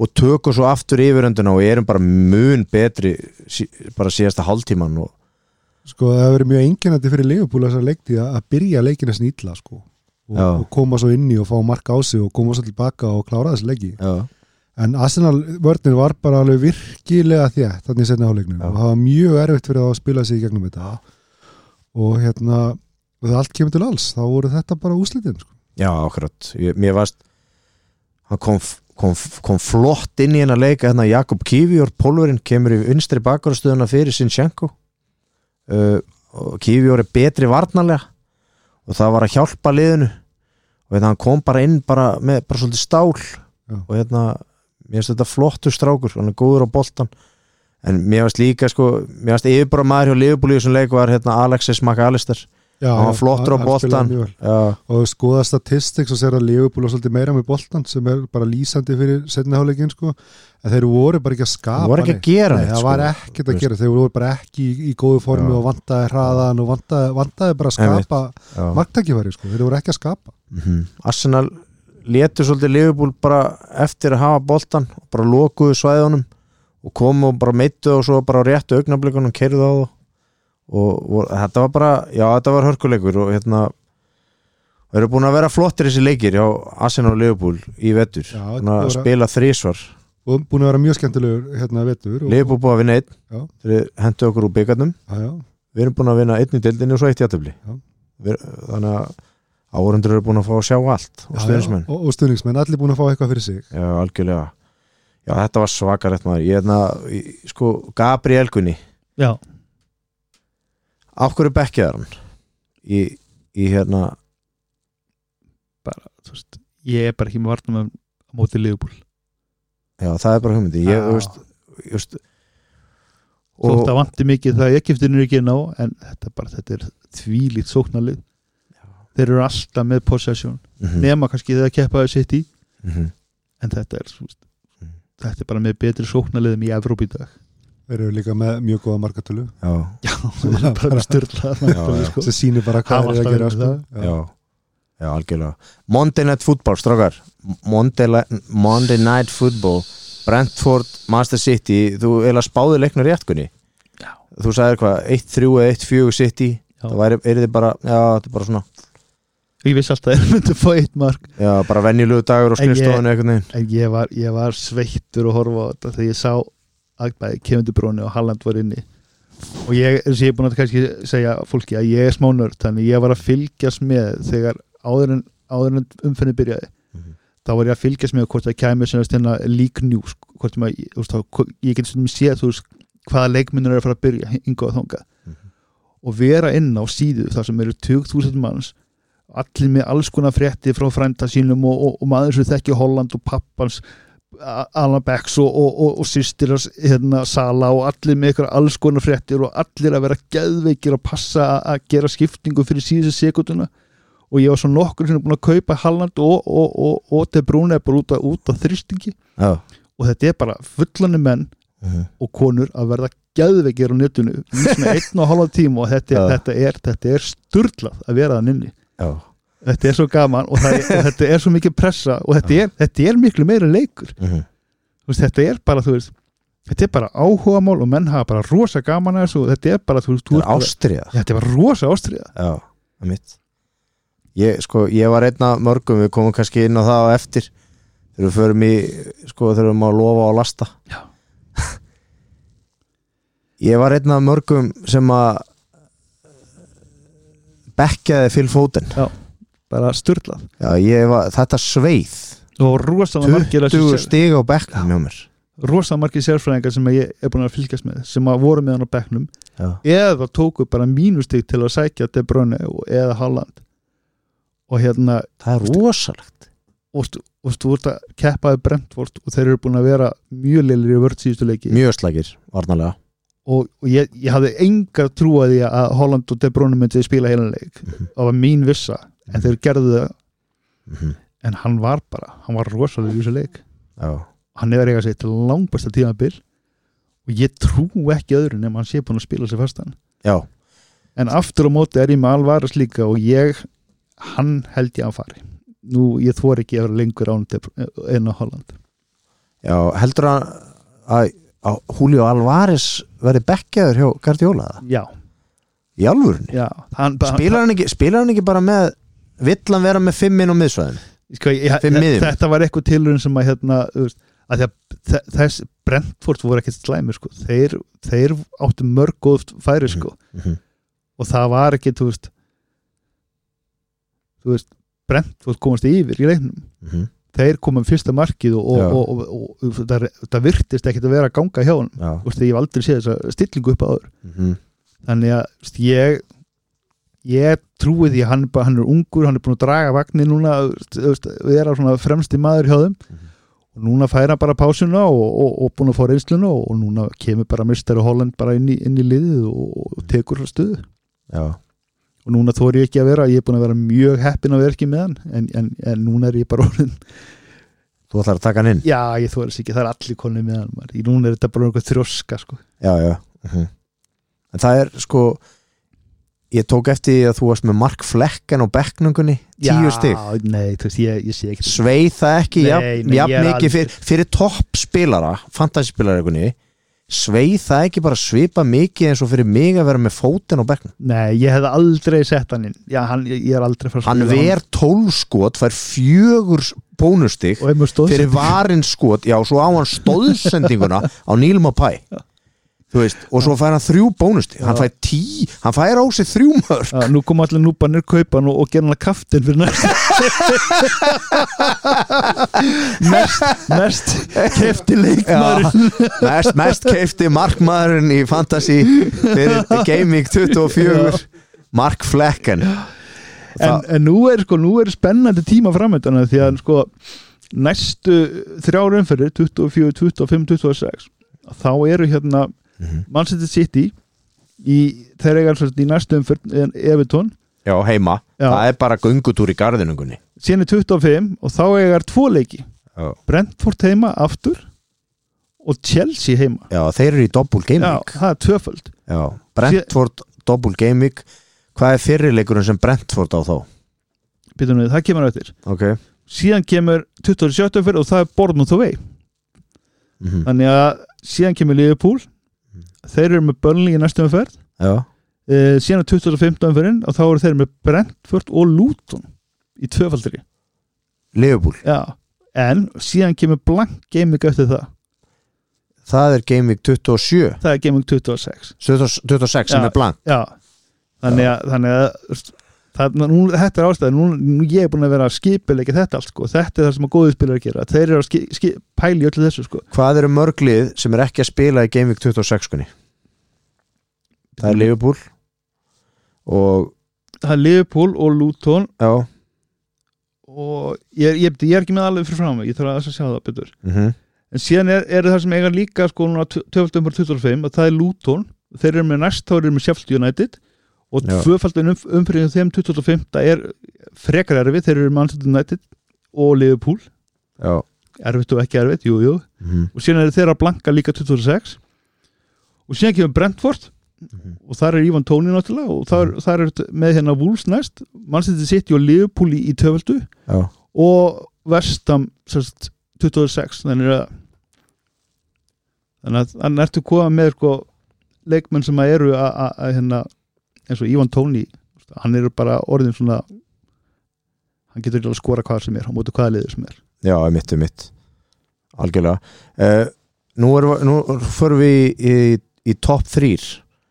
Speaker 2: og tökum svo aftur yfiröndina og erum bara mun betri sí- bara síðasta hálftíman og
Speaker 4: sko, það hefur verið mjög enginandi fyrir Liverpool þessar leiktíð að byrja leikina snýtla sko, og,
Speaker 2: Já.
Speaker 4: og koma svo inn í og fá mark á sig og koma svo tilbaka og klára þessi leiki
Speaker 2: já,
Speaker 4: en Arsenal vörnir var bara alveg virkilega þétt þannig í senna áleiknum
Speaker 2: Já.
Speaker 4: og það var mjög erfitt fyrir þá að spila sig í gegnum þetta og hérna og það allt kemur til alls, þá voru þetta bara úslitin sko.
Speaker 2: já akkurat ég, mér varst hann kom, f- kom, f- kom flott inn í hennar leika hérna Jakob Kivjór, pólverinn kemur í vinstri bakvarðstöðuna fyrir Sinchenko uh, og Kivjór er betri varnarlega og það var að hjálpa liðinu og hérna, hann kom bara inn bara með bara svolítið stál
Speaker 4: Já.
Speaker 2: og hérna, mér finnst þetta flottur strákur hann er góður á boltan en mér finnst líka sko, mér finnst yfirbara maður hjá Liverpool í þessum leik var hérna Alexis McAllister
Speaker 4: já,
Speaker 2: Hann var
Speaker 4: já,
Speaker 2: flottur á
Speaker 4: hann- hann spilaði
Speaker 2: boltann.
Speaker 4: mjög vel.
Speaker 2: já,
Speaker 4: og skoða statistics og sér að Liverpool var svolítið meira með boltan sem er bara lýsandi fyrir setni háleikin sko. að þeir voru bara ekki að skapa
Speaker 2: það voru ekki
Speaker 4: neitt.
Speaker 2: að gera
Speaker 4: Nei,
Speaker 2: neitt,
Speaker 4: það
Speaker 2: sko.
Speaker 4: var ekkert að
Speaker 2: Veist.
Speaker 4: gera, þeir voru bara ekki í, í góðu formi
Speaker 2: Já.
Speaker 4: og vantaði hraðan og vantaði, vantaði bara að
Speaker 2: Einmitt.
Speaker 4: skapa
Speaker 2: Já.
Speaker 4: marktækifæri, sko. þeir voru ekki að skapa
Speaker 2: -hmm. Arsenal letu svolítið Liverpool bara eftir að hafa boltan og bara lokuðu svæðunum og komu og bara meittu og svo bara á réttu augnablikunum keirðu á það og, og þetta var bara, já þetta var hörkuleikur og hérna og eru búin að vera flottir þessi leikir hjá Arsenal og Liverpool í vettur
Speaker 4: Já, þetta
Speaker 2: þannig að
Speaker 4: voru-
Speaker 2: spila þrísvar
Speaker 4: og búin að vera mjög skemmtilegur hérna vettur og,
Speaker 2: Liverpool búið að vinna
Speaker 4: Já.
Speaker 2: einn þeir hentu okkur úr byggarnum
Speaker 4: já, já,
Speaker 2: við erum búin að vinna einn í deildinni og svo eitt í aðtöfli
Speaker 4: Já.
Speaker 2: þannig að áhundur eru búin að fá að sjá allt og
Speaker 4: Já,
Speaker 2: stundismenn
Speaker 4: já, og, og stuðningsmenn, allir búin að fá eitthvað fyrir sig
Speaker 2: Já, algjörlega Já, þetta var svakarætt maður Ég hefna, í- sko, Gabriel Gunni
Speaker 3: Já,
Speaker 2: Af hverju bekkjaðar hann? Í, í hérna
Speaker 3: þú veist, ég er bara ekki með vartum að móti lífupúl
Speaker 2: Já, það er bara hugmyndi Ég,
Speaker 4: Já.
Speaker 2: þú veist, ég veist
Speaker 3: Þótt
Speaker 2: Og
Speaker 3: að vanti mikið það Egyptin er ekki ná en þetta, er bara, þetta er þvílít sóknarlið Þeir eru alltaf með possession
Speaker 2: Mhm,
Speaker 3: nema kannski þegar keppaði sitt í
Speaker 2: mhm.
Speaker 3: en þetta er, þú veist,
Speaker 2: Mhm.
Speaker 3: þetta er bara með betri sóknarliðum í Evróp í dag
Speaker 2: *laughs*
Speaker 4: þeir eru líka með mjög góða markatölu
Speaker 2: Já,
Speaker 3: Já, það er bara styrlað
Speaker 2: já.
Speaker 3: sko.
Speaker 4: sem sýnir bara
Speaker 3: Hafa
Speaker 4: hvað þeir eru að
Speaker 3: alltaf
Speaker 4: gera
Speaker 3: verið
Speaker 4: sko.
Speaker 2: já Já, algjörlega Monday Night Football, strákar Monday, li- Monday Night Football Brentford, Master City Þú eiginlega spáði leiknur rétt, Gunni
Speaker 3: Já.
Speaker 2: Þú sagðir hvað, 1-3 eða 1-4 City
Speaker 3: Já.
Speaker 2: Það væri, er þið bara, já, þetta er bara svona
Speaker 3: Ég vissi alltaf að þeir myndi fá eitt mark
Speaker 2: Já, bara venjulegu dagur og
Speaker 3: En ég-
Speaker 2: skrifstofan einhvern veginn
Speaker 3: en ég var, ég var sveittur að horfa á þetta þegar ég sá að bæði kemundu brónu og Halland var inni og ég, eins og ég er búin að kannski segja fólki að ég er smá nörd þannig ég var að fylgjast með þegar áður en, áður en umfenni byrjaði
Speaker 2: Mhm.
Speaker 3: þá var ég að fylgjast með hvort það kæmi sem þess hérna lík njús hvort maður, ég, þú veist, þá, ég get sem sé þú veist hvaða leikmennur eru að fara að byrja yngvað þangað og vera inn á síðu þar sem eru 20.000 manns allir með alls konar frétti frá frænda sínum og, og, og maður sem þekki Holland og pappans A- Alan Becks og, og, og, og sýstir hans, hérna, Sala og allir með ykkur alls konar fréttir og allir að vera geðveikir og passa að- að gera skiptingu fyrir síðustu sekunduna og ég var svo nokkur sem er búin að kaupa Halland og, og, og, og til Brúnei bara út, af- út á þrýstingi
Speaker 2: Já,
Speaker 3: og þetta er bara fullani menn og konur að verða geðveikir á netinu í svona einn og halva tíma og þetta,
Speaker 2: Já.
Speaker 3: þetta er, þetta er sturlað að vera þann inni
Speaker 2: já
Speaker 3: þetta er svo gaman og, það, er- og þetta er svo mikið pressa og þetta er, þetta er miklu meira leikur
Speaker 2: Mhm.
Speaker 3: Þú veist, þetta er bara, þú veist þetta er bara áhugamál og menn hafa bara rosa gaman að þessu og þetta er bara, þú veist, þú
Speaker 2: Það
Speaker 3: ert
Speaker 2: er
Speaker 3: bara-
Speaker 2: ástriða
Speaker 3: Já, þetta er bara rosa ástriða
Speaker 2: Já, það mitt ég, sko, ég var einn af mörgum við komum kannski inn á það á eftir þegar við förum í sko, þegar við má lofa og lasta
Speaker 3: Já.
Speaker 2: *laughs* Ég var einn af mörgum sem að bekkjaði Phil Foden
Speaker 3: bara styrlað
Speaker 2: Já, ég var, þetta sveið
Speaker 3: og rosa margir,
Speaker 2: 20 stig á bekknum hjá mér
Speaker 3: rosa margir sérfræðingar sem að ég er búin að fylgjast með sem að voru með hann á bekknum
Speaker 2: Já,
Speaker 3: eða tóku bara mínustig til að sækja De Bruyne og- eða Haaland og hérna
Speaker 2: það er rosalegt
Speaker 3: og stu- og þú ert að keppaði Brentford og þeir eru búin að vera mjög leilir í vörð síðustu leiki
Speaker 2: Mjög slækir, varnalega
Speaker 3: og, og ég, ég hafði enga trú að því að Holland og De Bruyne myndi spila heilan leik það var mín vissa en þeir gerðu það
Speaker 2: Mhm.
Speaker 3: en hann var bara, hann var rosalega í þessu leik
Speaker 2: Já,
Speaker 3: hann hefur eiga sér til langbæsta tímabil og ég trú ekki öðru nema hann sé búin að spila sér fastan
Speaker 2: já,
Speaker 3: en aftur á móti er ég með alvaras líka og ég, hann held ég að fari nú, ég þvor ekki að vera lengur án enn á Holland
Speaker 2: já heldur að, að, að Julio Alvarez verði bekkjaður hjá Guardiola það?
Speaker 3: já,
Speaker 2: Í alvörunni?
Speaker 3: já hann,
Speaker 2: Spilar hann ekki, spilar hann ekki bara með vill hann vera með fimm inn á miðsvæðin?
Speaker 3: sko, ég,
Speaker 2: Fimm miðjum.
Speaker 3: þetta var eitthvað tilurinn sem að hérna þú veist, að því að þe- þess Brentford voru ekkert slæmi sko. þeir, þeir áttu mörg góð færi sko.
Speaker 2: Mhm.
Speaker 3: og það var ekki þú veist, þú veist Brentford komast yfir í leiknum
Speaker 2: mhm,
Speaker 3: þeir komum fyrsta markið og,
Speaker 2: Já.
Speaker 3: og, og, og, og, það, það virtist ekkert að vera að ganga hjá honum
Speaker 2: Já
Speaker 3: Þú veist, ég hef aldrei séð þessa stillingu upp áður
Speaker 2: Mhm.
Speaker 3: þannig að þú veist, ég ég trúi því að hann, bara- hann er ungur hann er búin að draga vagnir núna þú veist, þú veist, við erum svona fremsti maður hjá þeim
Speaker 2: Mhm.
Speaker 3: og núna færa bara pásuna og, og, og búin að fá reynsluna og, og núna kemur bara mistari Holland bara inn í, inn í liðið og, og tekur stuðu
Speaker 2: Já,
Speaker 3: og núna þóri ég ekki að vera, ég er búin að vera mjög heppin að vera ekki með hann en, en, en núna er ég bara orðin
Speaker 2: þú ætlar að taka hann inn
Speaker 3: *laughs* Já, ég þóra þess ekki, það er allir konið með hann maður. Í núna er þetta bara einhver þrjóska sko.
Speaker 2: Já, já mhm. En það er sko ég tók eftir því að þú varst með Mark Flecken á bekknungunni, tíu stig
Speaker 3: Nei, þú veist, ég, ég sé um ekki
Speaker 2: sveið það ekki
Speaker 3: Nei,
Speaker 2: jafn,
Speaker 3: nei, ég
Speaker 2: jafn
Speaker 3: er
Speaker 2: mikið
Speaker 3: aldrei-
Speaker 2: fyrir, fyrir toppspilara fantasyspilara sveið það ekki bara svipa mikið eins og fyrir mig að vera með fótinn á bekknum
Speaker 3: Nei, ég hef aldrei sett hann inn Já, hann, ég, ég er aldrei frá
Speaker 2: hann ver tólskot, fær fjögur bónustig
Speaker 3: Og ef maður stóð
Speaker 2: fyrir varinn skot já, svo á hann stóðsendinguna á Nílum og Pæ þú veist, og svo fær hann þrjú bónusti hann fær tí, hann fær á sig þrjú mörg
Speaker 3: Já, nú kom allir núbanir kaupan og, og gera hann að kaftin
Speaker 2: *laughs*
Speaker 3: fyrir næst Mest, mest kefti leikmaður
Speaker 2: mest, mest keifti markmaðurinn í Fantasy fyrir Gaming 24 Mark Flecken
Speaker 3: en,
Speaker 2: Það-
Speaker 3: en nú er sko, nú er spennandi tíma framöndana því að sko næstu þrjára umferðir 24, 25, 26 þá eru hérna
Speaker 2: Mhm.
Speaker 3: Man City City í þeir eiga svolítið í næstu umferð en Evertón,
Speaker 2: já, heima,
Speaker 3: Já.
Speaker 2: það er bara göngutúr í garðinungunni
Speaker 3: síðan er 25 og þá eiga tvo leiki
Speaker 2: já.
Speaker 3: Brentford heima aftur og Chelsea heima
Speaker 2: já, þeir eru í doppul
Speaker 3: Já,
Speaker 2: gaming
Speaker 3: það er tvöföld
Speaker 2: já. Brentford doppul gaming hvað er fyrirleikurinn sem Brentford á þá?
Speaker 3: Býtum við, það kemur eftir
Speaker 2: ok
Speaker 3: síðan kemur 27. umferð og það er Bournemouth away
Speaker 2: mm -hmm.
Speaker 3: þannig að síðan kemur Liverpool þeir eru með Burnley í næstu umferð
Speaker 2: já,
Speaker 3: uh, síðan á 2015 umferðin og þá eru þeir með Brentford og Luton í tvöfaldri
Speaker 2: Liverpool
Speaker 3: Já. en síðan kemur blank gaming eftir það,
Speaker 2: það er Game Week 27
Speaker 3: það er gaming 26
Speaker 2: 27 26 sem
Speaker 3: Já.
Speaker 2: er blank
Speaker 3: Já. þannig að, þannig að þú veist, það, nú, þetta er ástæði nú, nú ég er búin að vera að skipilegja þetta allt sko. þetta er það sem að góðið spilar að gera þeir eru að ski, ski, pæli öllu þessu sko.
Speaker 2: hvað eru mörglið sem er ekki að spila í Game Week 26 skunni það er Liverpool og
Speaker 3: það er Liverpool og Luton
Speaker 2: já
Speaker 3: og ég, ég, ég er ekki með alveg fyrir frá mig ég þarf að sjá það betur
Speaker 2: mm
Speaker 3: en síðan er, er það sem eiga líka sko núna 12.25 að það er Luton þeir eru með næst, þá eru með Sheffield United og
Speaker 2: Já.
Speaker 3: tvöfaldin umf umfyrir þeim 25 er frekar erfið þeir eru með Manchester United og Liverpool
Speaker 2: já
Speaker 3: erfitt og ekki erfitt, jú, jú
Speaker 2: mm
Speaker 3: og síðan eru þeir að blanka líka 26 og síðan kemur Brentford og þar er Ívan Tóni náttúrulega og þar, þar er þetta með hérna Wolves næst Manchester City og Liverpool í, í töfaldu
Speaker 2: já,
Speaker 3: og Vestam sérst, 26 þannig að þannig að þannig ertu koma með sko, leikmenn sem að eru að- að að hérna, eins og Ívan Tóni hann eru bara orðin svona hann getur ekki að skora hvað sem er á móti hvaða liðið sem er
Speaker 2: já, mitt, mitt algjörlega uh, nú, er, nú förum við í, í, í top 3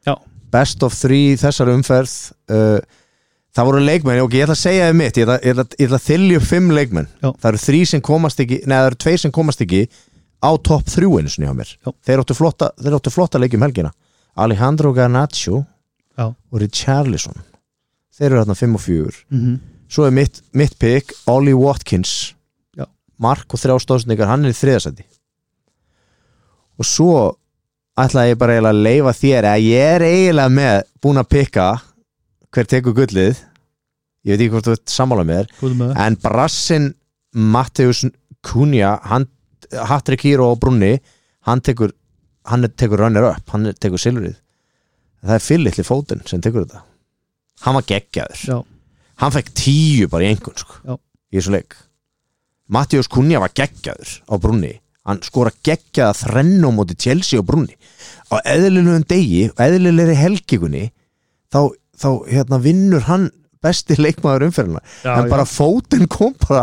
Speaker 3: Já.
Speaker 2: best of 3 þessar umferð uh, það voru leikmenn, ok, ég ætla að segja þið mitt ég ætla, ég ætla, ég ætla að þylja upp 5 leikmenn
Speaker 3: Já.
Speaker 2: það eru 3 sem komast ekki, neða það eru 2 sem komast ekki á top 3 einu sinni hjá mér
Speaker 3: Já.
Speaker 2: þeir áttu flotta, þeir áttu flotta leikjum helgina Alejandro Garnacho
Speaker 3: Já.
Speaker 2: og Richarlison þeir eru þarna 5 og 4
Speaker 3: mm -hmm.
Speaker 2: Svo er mitt, mitt pick Ollie Watkins
Speaker 3: Já.
Speaker 2: Mark og þrjá stóðsendingar, hann er í þriðasæti Og svo ætlaði ég bara eiginlega að leifa þér að ég er eiginlega með búin að pikka hver tekur gullið Ég veit ekki hvort þú ert sammála með þér
Speaker 3: með
Speaker 2: En Brassin Matthews Kunja hann, Hattrick Hero og Brunni hann tekur, hann er- tekur runner up hann er- tekur silfrið Það er fyllitli fótinn sem tekur þetta Hann var geggjaður
Speaker 3: Já.
Speaker 2: hann fekk tíu bara í engun sko.
Speaker 3: Já.
Speaker 2: í þessu leik Mattias Kunja var geggjaður á brunni hann skora geggjaða þrennu á móti Chelsea á brunni á eðlilegum degi og eðlilegri helgikunni þá, þá hérna, vinnur hann besti leikmaður umferðina en bara fótinn kom bara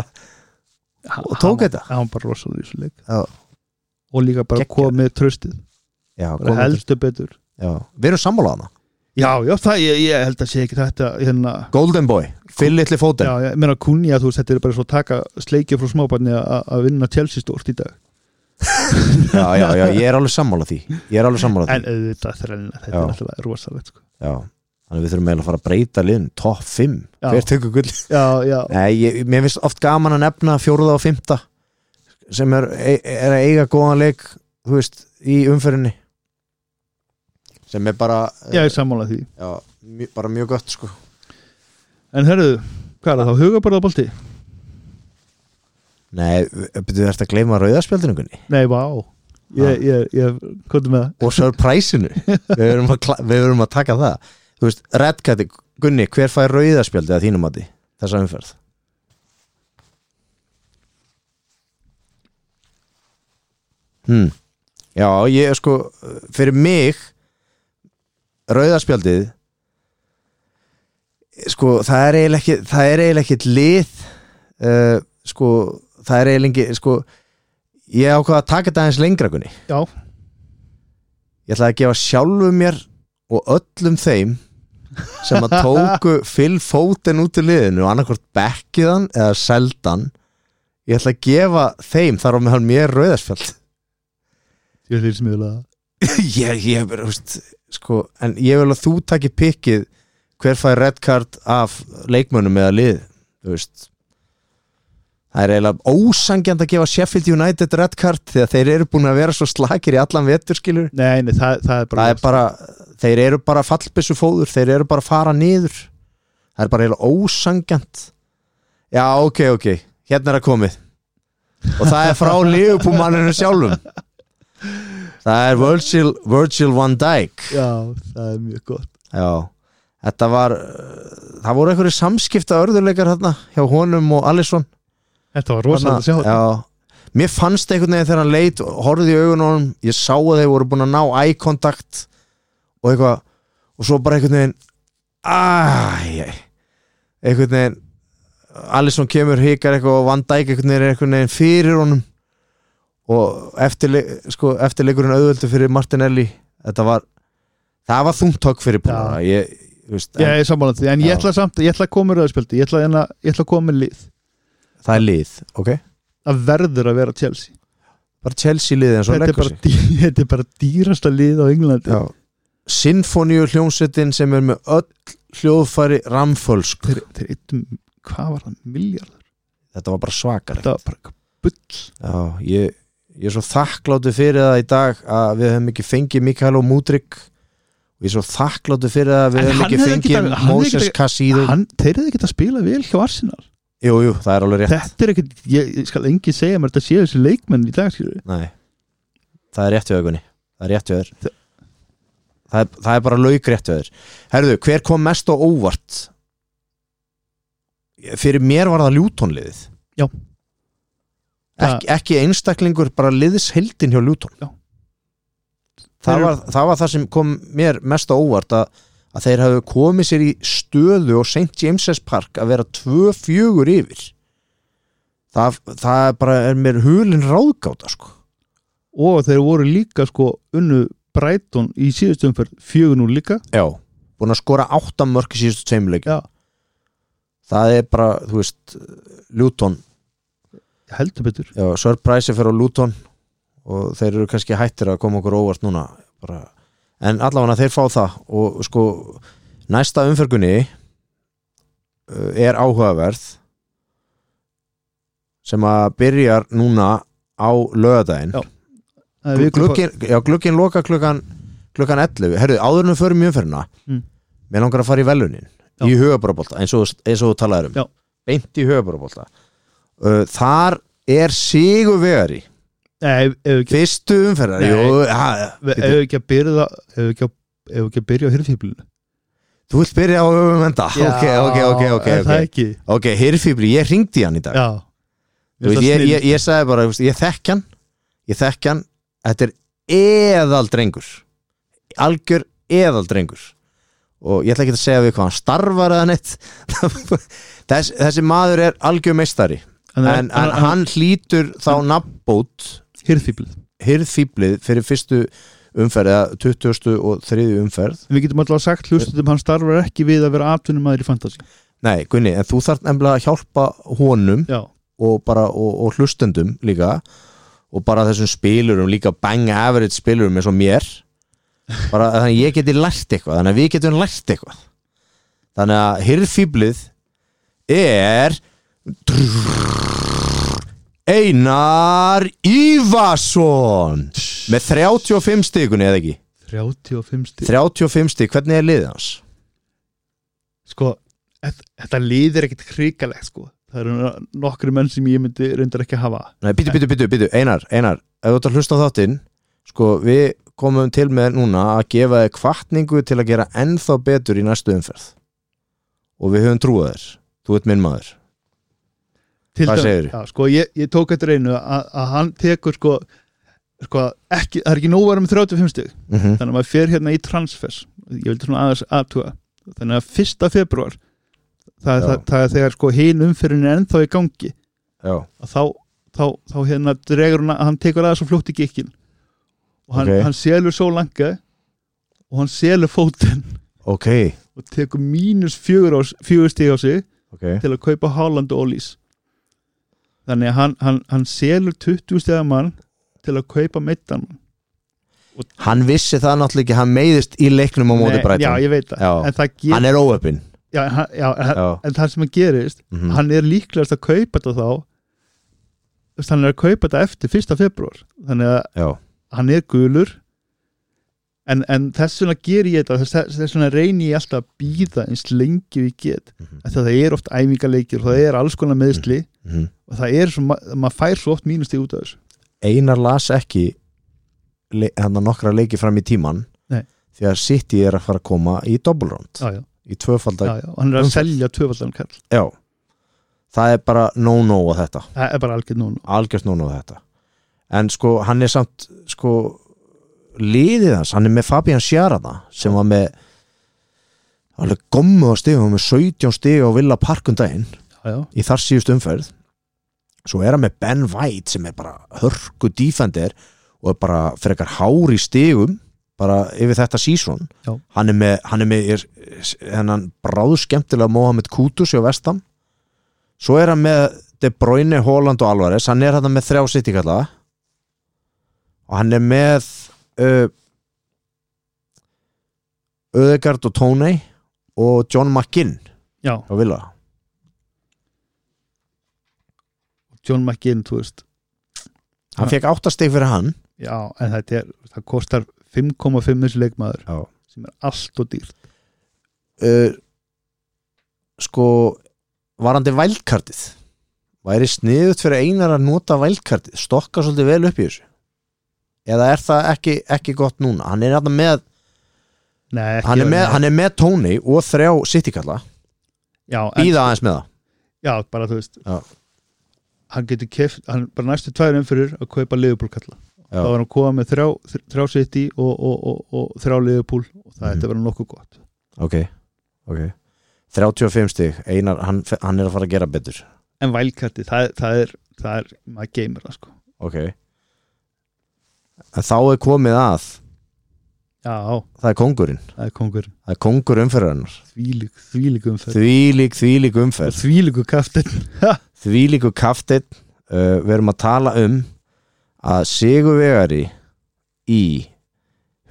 Speaker 2: og tók þetta.
Speaker 3: hann var bara rosalega í þessu leik
Speaker 2: Já.
Speaker 3: og líka bara
Speaker 2: Geggjaður.
Speaker 3: komið tröstið
Speaker 2: já,
Speaker 3: bara
Speaker 2: komið til-
Speaker 3: helstu betur
Speaker 2: já. við erum sammálaðana
Speaker 3: Já, já, það, ég, ég held að sé ekki þetta hérna,
Speaker 2: Golden Boy, fyllitli
Speaker 3: já,
Speaker 2: fótinn
Speaker 3: ég meina Kunja, þú veist, þetta er bara svo að taka sleikja frá smábarni að að vinna Chelsea stórt í dag
Speaker 2: já, já, já, ég er alveg sammála því ég er alveg sammála því
Speaker 3: en auðvitað þrenna, þetta
Speaker 2: Já.
Speaker 3: er alltaf rosalegt sko.
Speaker 2: já. þannig að við þurfum eiginlega að fara að breyta liðin top 5,
Speaker 3: Já.
Speaker 2: hver tekur gull
Speaker 3: Já, já,
Speaker 2: Nei, ég, mér finnst oft gaman að nefna fjórða og fymta sem er, er að eiga góðan leik þú veist, í umferðinni sem er bara
Speaker 3: ég er sammála því
Speaker 2: já, mjö, bara mjög gott sko
Speaker 3: En herruðu, hvað er það, þá huga bara það bolti?
Speaker 2: Nei, betur þú ert að gleyma rauðaspjaldinungunni
Speaker 3: Nei, vá, ég, ég, ég, hvað með það?
Speaker 2: og svo er præsinu við erum að, kla- við erum að taka það þú veist, reddkætti, Gunni, hver fær rauðaspjaldi að þínum mati, þessa umferð hmm. Já, ég er sko fyrir mig rauðaspjaldið sko, það er eiginlega ekki það er eiginlega ekki lið uh, sko, það er eiginlega ekki sko, ég ákvað að taka þetta aðeins lengra kunni
Speaker 3: Já.
Speaker 2: ég ætlaði að gefa sjálfu mér og öllum þeim sem að *laughs* tóku Phil Foden út í liðinu og annarkvort bekkiðan eða seldan ég ætla að gefa þeim þar á meðan mér rauðaspjald
Speaker 3: Ég ætlir sem ég vil að
Speaker 2: *laughs* ég, ég, bara, þú veist, sko, en ég vil að þú takir pikkið hver fær red card af leikmönnum eða lið þú veist það er eiginlega ósangjand að gefa Sheffield United red card þegar þeir eru búin að vera svo slakir í allan vetur skilur
Speaker 3: Nei, nei, það, það er bara
Speaker 2: það er bara, þeir eru bara fallbissu fóður, þeir eru bara að fara niður það er bara eiginlega ósangjant já, ok, ok hérna er að komið og það er frá liðupúmanninu sjálfum það er Virgil, Virgil van Dijk
Speaker 3: Já, það er mjög gott
Speaker 2: já, þetta var uh, það voru einhverju samskipta örðuleikar hérna hjá honum og Alisson
Speaker 3: Þetta var rosalega að sjá
Speaker 2: Þarna-
Speaker 3: þetta
Speaker 2: já. mér fannst einhvern veginn þegar hann leit og horfði í augunum, ég sá að þeir voru búin að ná eye contact og eitthvað, og svo bara einhvern veginn æj einhvern veginn Alisson kemur, hikar eitthvað og Van Dijk einhvern veginn er einhvern veginn fyrir honum og eftir, sko, eftir leikurinn auðvöldu fyrir Martinelli þetta var, það var þungt tók fyrir búin ég, þú veist,
Speaker 3: Ég
Speaker 2: en
Speaker 3: er sammála því, en
Speaker 2: Já.
Speaker 3: ég ætla samt, ég ætla að koma með rauðspjöldi, ég ætla, hérna- ég ætla að koma með lið
Speaker 2: það er lið, ok
Speaker 3: Það verður að vera Chelsea
Speaker 2: bara Chelsea liðið eins og
Speaker 3: þetta er, bara, dý- *laughs* þetta er bara dýrasta lið á Englandi
Speaker 2: Já. Sinfoníu hljómsettin sem er með öll hljóðfæri ramfölsk
Speaker 3: þeir, þeir eittum, hvað var það, miljardur
Speaker 2: þetta var bara svakar
Speaker 3: þetta var bara eitthvað bull
Speaker 2: Já, ég, ég er svo þakkláttu fyrir það í dag að við hefum ekki fengið Mikael og Múdrik ég er svo þakkláttu fyrir það að
Speaker 3: En
Speaker 2: við hefum
Speaker 3: hann
Speaker 2: ekki
Speaker 3: hefði
Speaker 2: fengið
Speaker 3: ekki- hann hefði
Speaker 2: Moses
Speaker 3: ekki-
Speaker 2: Cassido
Speaker 3: hann, þeir eru ekkert að spila vel hjá Arsenal
Speaker 2: Jú, jú, það er alveg rétt
Speaker 3: þetta er ekkert, ég, ég skal engi segja mér þetta séu þessi leikmenn í dag skilur.
Speaker 2: Nei, það er rétt hjá augunni Það er rétt hjá þér
Speaker 3: Þe-
Speaker 2: það er, það er bara laugrétt við þér herðu, hver kom mest á óvart fyrir mér var það ljútonliðið
Speaker 3: Já.
Speaker 2: Ek, ekki einstaklingur, bara liðsheldin hjá ljúton
Speaker 3: Já.
Speaker 2: það
Speaker 3: Þeir-
Speaker 2: var, það var það sem kom mér mest á óvart að, að þeir hafðu komið sér í stöðu og St. James's Park að vera tvö fjögur yfir það, það er bara er mér hulin ráðgáta sko
Speaker 3: og þeir voru líka sko unnu Brighton í síðustu umferð fjögur nú líka
Speaker 2: Já, búin að skora átta mörk í síðustu tveimleik
Speaker 3: Já.
Speaker 2: Það er bara, þú veist Luton,
Speaker 3: heldur betur
Speaker 2: já, Surprise fyrir á Luton og þeir eru kannski hættir að koma okkur óvart núna bara. en allavega þeir fá það og sko, næsta umfergunni uh, er áhugaverð sem að byrjar núna á lögadaginn
Speaker 3: Já. Það er
Speaker 2: Glu-
Speaker 3: viku-
Speaker 2: glukkin, já, glukkin loka klukkan klukkan 11, herruðu, áður en við förum í umferðina
Speaker 3: Mm.
Speaker 2: mér langar að fara í velunin
Speaker 3: Já.
Speaker 2: í hugabarabólta, eins, og- eins og þú talaðir um
Speaker 3: Já.
Speaker 2: beint í hugabarabólta uh, þar er sigur vegari
Speaker 3: Nei, ef ef ekki
Speaker 2: fyrstu umferðar
Speaker 3: Nei. e-
Speaker 2: Jú, ha,
Speaker 3: ef
Speaker 2: bíddu,
Speaker 3: ekki að byrja ef ekki að ef ekki að byrja á hirðfíblinu
Speaker 2: þú vilt byrja á um enda ok, ok, ok, ok,
Speaker 3: er það
Speaker 2: ok,
Speaker 3: ekki
Speaker 2: ok, hirfibri, ég ringdi hann í dag
Speaker 3: já
Speaker 2: Þú veist, ég, ég, ég sagði bara, þú veist, ég þekk hann ég þekk hann, þetta er eðaldrengur algjör eðaldrengur og ég ætla ekki að segja við hvað hann starfar eða neitt *laughs* Þess, þessi maður er algjör meistari en, en, hann hlýtur þá nafnbót
Speaker 3: hirðfíblin
Speaker 2: hirðfýblið fyrir fyrstu umferð eða 20. og 3. umferð
Speaker 3: við getum alltaf sagt hlustuðum hann starfar ekki við að vera atvinnumæður í fantasi
Speaker 2: Nei, Gunni, en þú þarf nefnilega að hjálpa honum
Speaker 3: já
Speaker 2: og, bara, og, og hlustendum líka og bara þessum spilurum líka bang average spilurum eins og mér bara þannig að ég geti lært eitthvað þannig að við getum lært eitthvað þannig að hirðfýblið er Einar Ívason með 35 stigunni eða ekki
Speaker 3: 35 stíð
Speaker 2: 35 stig, hvernig er liðið hans?
Speaker 3: sko þet- þetta liðir ekkit krigalegt sko það eru nokkri menn sem ég myndi reyndar ekki að hafa
Speaker 2: Nei, býtu, býtu, býtu, býtu, Einar, Einar ef þú ert að hlusta á þáttinn sko, við komum til með núna að gefa þér kvartningu til að gera ennþá betur í næstu umferð og við höfum trúið þér þú ert minn maður
Speaker 3: Til
Speaker 2: Hvað
Speaker 3: dæmis-
Speaker 2: segirðu?
Speaker 3: Já, sko, ég, ég tók eftir einu að, að hann tekur sko, sko ekki, það er ekki nóg að vera með 35 stig
Speaker 2: mm -hmm.
Speaker 3: þannig að maður fer hérna í transfers ég vildi svona aðeins aðtuga þannig að 1. februar það, er
Speaker 2: Já.
Speaker 3: það, það er þegar sko hin umfyrin er ennþá í gangi
Speaker 2: Já,
Speaker 3: að þá, þá, þá hérna dregur hann að hann tekur aðeins og flótt í gikkin og hann,
Speaker 2: Ok.
Speaker 3: hann selur svo langa og hann selur fótinn
Speaker 2: ok,
Speaker 3: og tekur mínus fjögur, á- fjögur stig á sig
Speaker 2: ok
Speaker 3: til að kaupa Haaland og Ólís þannig að hann, hann, hann selur 20 stegar mann til að kaupa meittan mann.
Speaker 2: Hann vissi það náttúrulega ekki, hann meiðist í leiknum á móti
Speaker 3: Nei, já,
Speaker 2: brættan
Speaker 3: ég veit það
Speaker 2: Já.
Speaker 3: en það,
Speaker 2: Hann
Speaker 3: ger,
Speaker 2: er óöppin
Speaker 3: já, hann, já, en-
Speaker 2: Já,
Speaker 3: en það sem að gerist
Speaker 2: mhm.
Speaker 3: hann er líklegast að kaupa þetta þá þú veist, hann er að kaupa þetta eftir 1. februar þannig að
Speaker 2: já,
Speaker 3: hann er gulur en, en þess vegna ger ég þetta þess, þess vegna reyni ég alltaf að býða eins lengi við get
Speaker 2: Mhm.
Speaker 3: af því að það er oft æfingaleikir og það er alls konar meðsli
Speaker 2: mhm.
Speaker 3: og það er svo, ma- maður fær svo oft mínusti út af þessu
Speaker 2: Einar las ekki le- hérna nokkra leiki fram í tíman
Speaker 3: Nei.
Speaker 2: því að City er að fara að koma í dobbulrónd
Speaker 3: já, já.
Speaker 2: í tvöfaldag
Speaker 3: já, já, og hann er að
Speaker 2: Umferð.
Speaker 3: selja tvöfaldan kall
Speaker 2: Já Það er bara no-no á þetta
Speaker 3: það er bara algjörn núna
Speaker 2: Algjörst no-no á þetta En sko, hann er samt sko, liðið hans, hann er með Fabian Sjarana sem var með alveg gommu á stig, hann var með 17 stig á Villa Park um daginn
Speaker 3: já, já.
Speaker 2: í þar síðust umferð svo er hann með Ben White sem er bara hörku defender og er bara frekar hár í stigum bara yfir þetta season
Speaker 3: Já.
Speaker 2: hann er með, hann er með er, hennan bráðu skemmtilega Mohamed Kutus hjá Vestam svo er hann með De Bruyne, Holland og Alvarez hann er hann með þrjá sitt kalla og hann er með uh, Öðegard og Tónei og John McGinn
Speaker 3: já,
Speaker 2: á Villa
Speaker 3: John McGinn, þú veist
Speaker 2: hann
Speaker 3: Já.
Speaker 2: fekk áttastig fyrir hann
Speaker 3: já, en þetta er, það kostar 5,5 þessi leikmaður
Speaker 2: Já.
Speaker 3: sem er allt og dýrt
Speaker 2: uh, sko varandi vælkartið væri sniðut fyrir einar að nota vælkartið stokka svolítið vel upp í þessu eða er það ekki, ekki gott núna hann er hérna með
Speaker 3: Nei, ekki
Speaker 2: hann er,
Speaker 3: vera-
Speaker 2: með, hann er með Tony og þrjá sittikalla
Speaker 3: já, en,
Speaker 2: býða aðeins með það
Speaker 3: já, bara þú veist
Speaker 2: Já.
Speaker 3: hann getur keft, hann bara næstu tvær umfyrir að kaupa liðupúlkalla þá var hann komað með þrjá, þr- þrjá sitt í og, og, og, og þrjá liðupúl og það
Speaker 2: Mhm.
Speaker 3: ætti að vera nokkuð gott
Speaker 2: ok, ok 35 stig, Einar, hann, hann er að fara að gera betur
Speaker 3: en vælkatti, það, það er það er, maður geymir það sko
Speaker 2: ok en þá er komið að
Speaker 3: já,
Speaker 2: það er kongurinn,
Speaker 3: það er kongur,
Speaker 2: það er kongur umferðarinnar
Speaker 3: þvílík þvílík umferð
Speaker 2: þvílík, þvílík
Speaker 3: og
Speaker 2: umferð
Speaker 3: þvílíku kaftin *laughs*
Speaker 2: þvílíku kaftinn uh, við erum að tala um að Sigurvegari í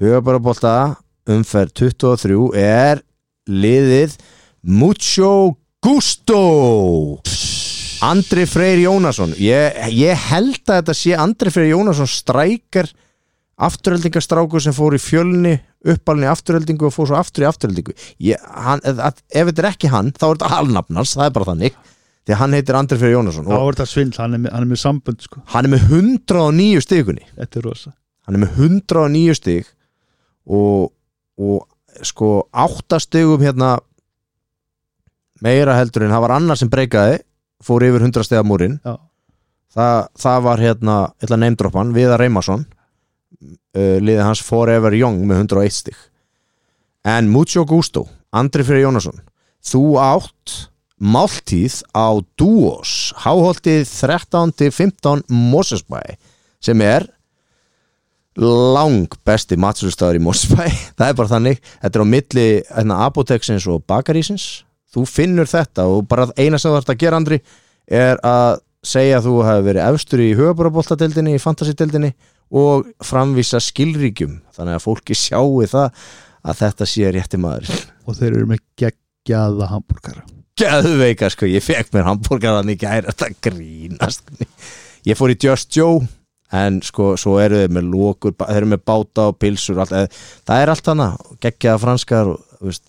Speaker 2: höfabarabolta umferð 23 er liðið Mucho Gusto Andri Freyr Jónasson ég, ég held að þetta sé Andri Freyr Jónasson strækar afturheldingastráku sem fór í fjölni uppalni afturheldingu og fór svo aftur í afturheldingu ég, hann, ef, ef þetta er ekki hann þá er þetta alnafnars, það er bara þannig því að hann heitir Andri Freyr Jónasson
Speaker 3: þá
Speaker 2: og
Speaker 3: er það svindl, hann er, með- hann er með sambönd sko,
Speaker 2: hann er með 109 stigunni
Speaker 3: þetta er rosa
Speaker 2: hann er með 109 stig og, og sko 8 stigum hérna meira heldur en það var annar sem breykaði fór yfir 100 stiga múrin
Speaker 3: já,
Speaker 2: Þa, það var hérna, hérna neymdroppan Viðar Reymarsson uh, liðið hans Forever Young með 101 stig en Mucho Gusto Andri Freyr Jónasson þú átt máltíð á Duos háholtið 13-15 Mosesbæ sem er lang besti matsölustadur í Mosesbæ *laughs* það er bara þannig, þetta er á milli hérna, apoteksins og bakarísins þú finnur þetta og bara eina sem þú ert að gera Andri er að segja að þú hefur verið efstur í höfabaraboltadeildinni, í fantasy-deildinni og framvísa skilríkjum þannig að fólki sjáu það að þetta sé rétti maður
Speaker 3: og þeir eru með geggjaða hambúrkara
Speaker 2: Gæðveika sko, ég fekk mér hambúrgaran í gæri þetta grínast sko. ég fór í Just Joe en sko, svo eru þeir með lókur þeir eru með báta og pilsur og allt, eða- það er allt hana, geggjaða franskar og, þú veist,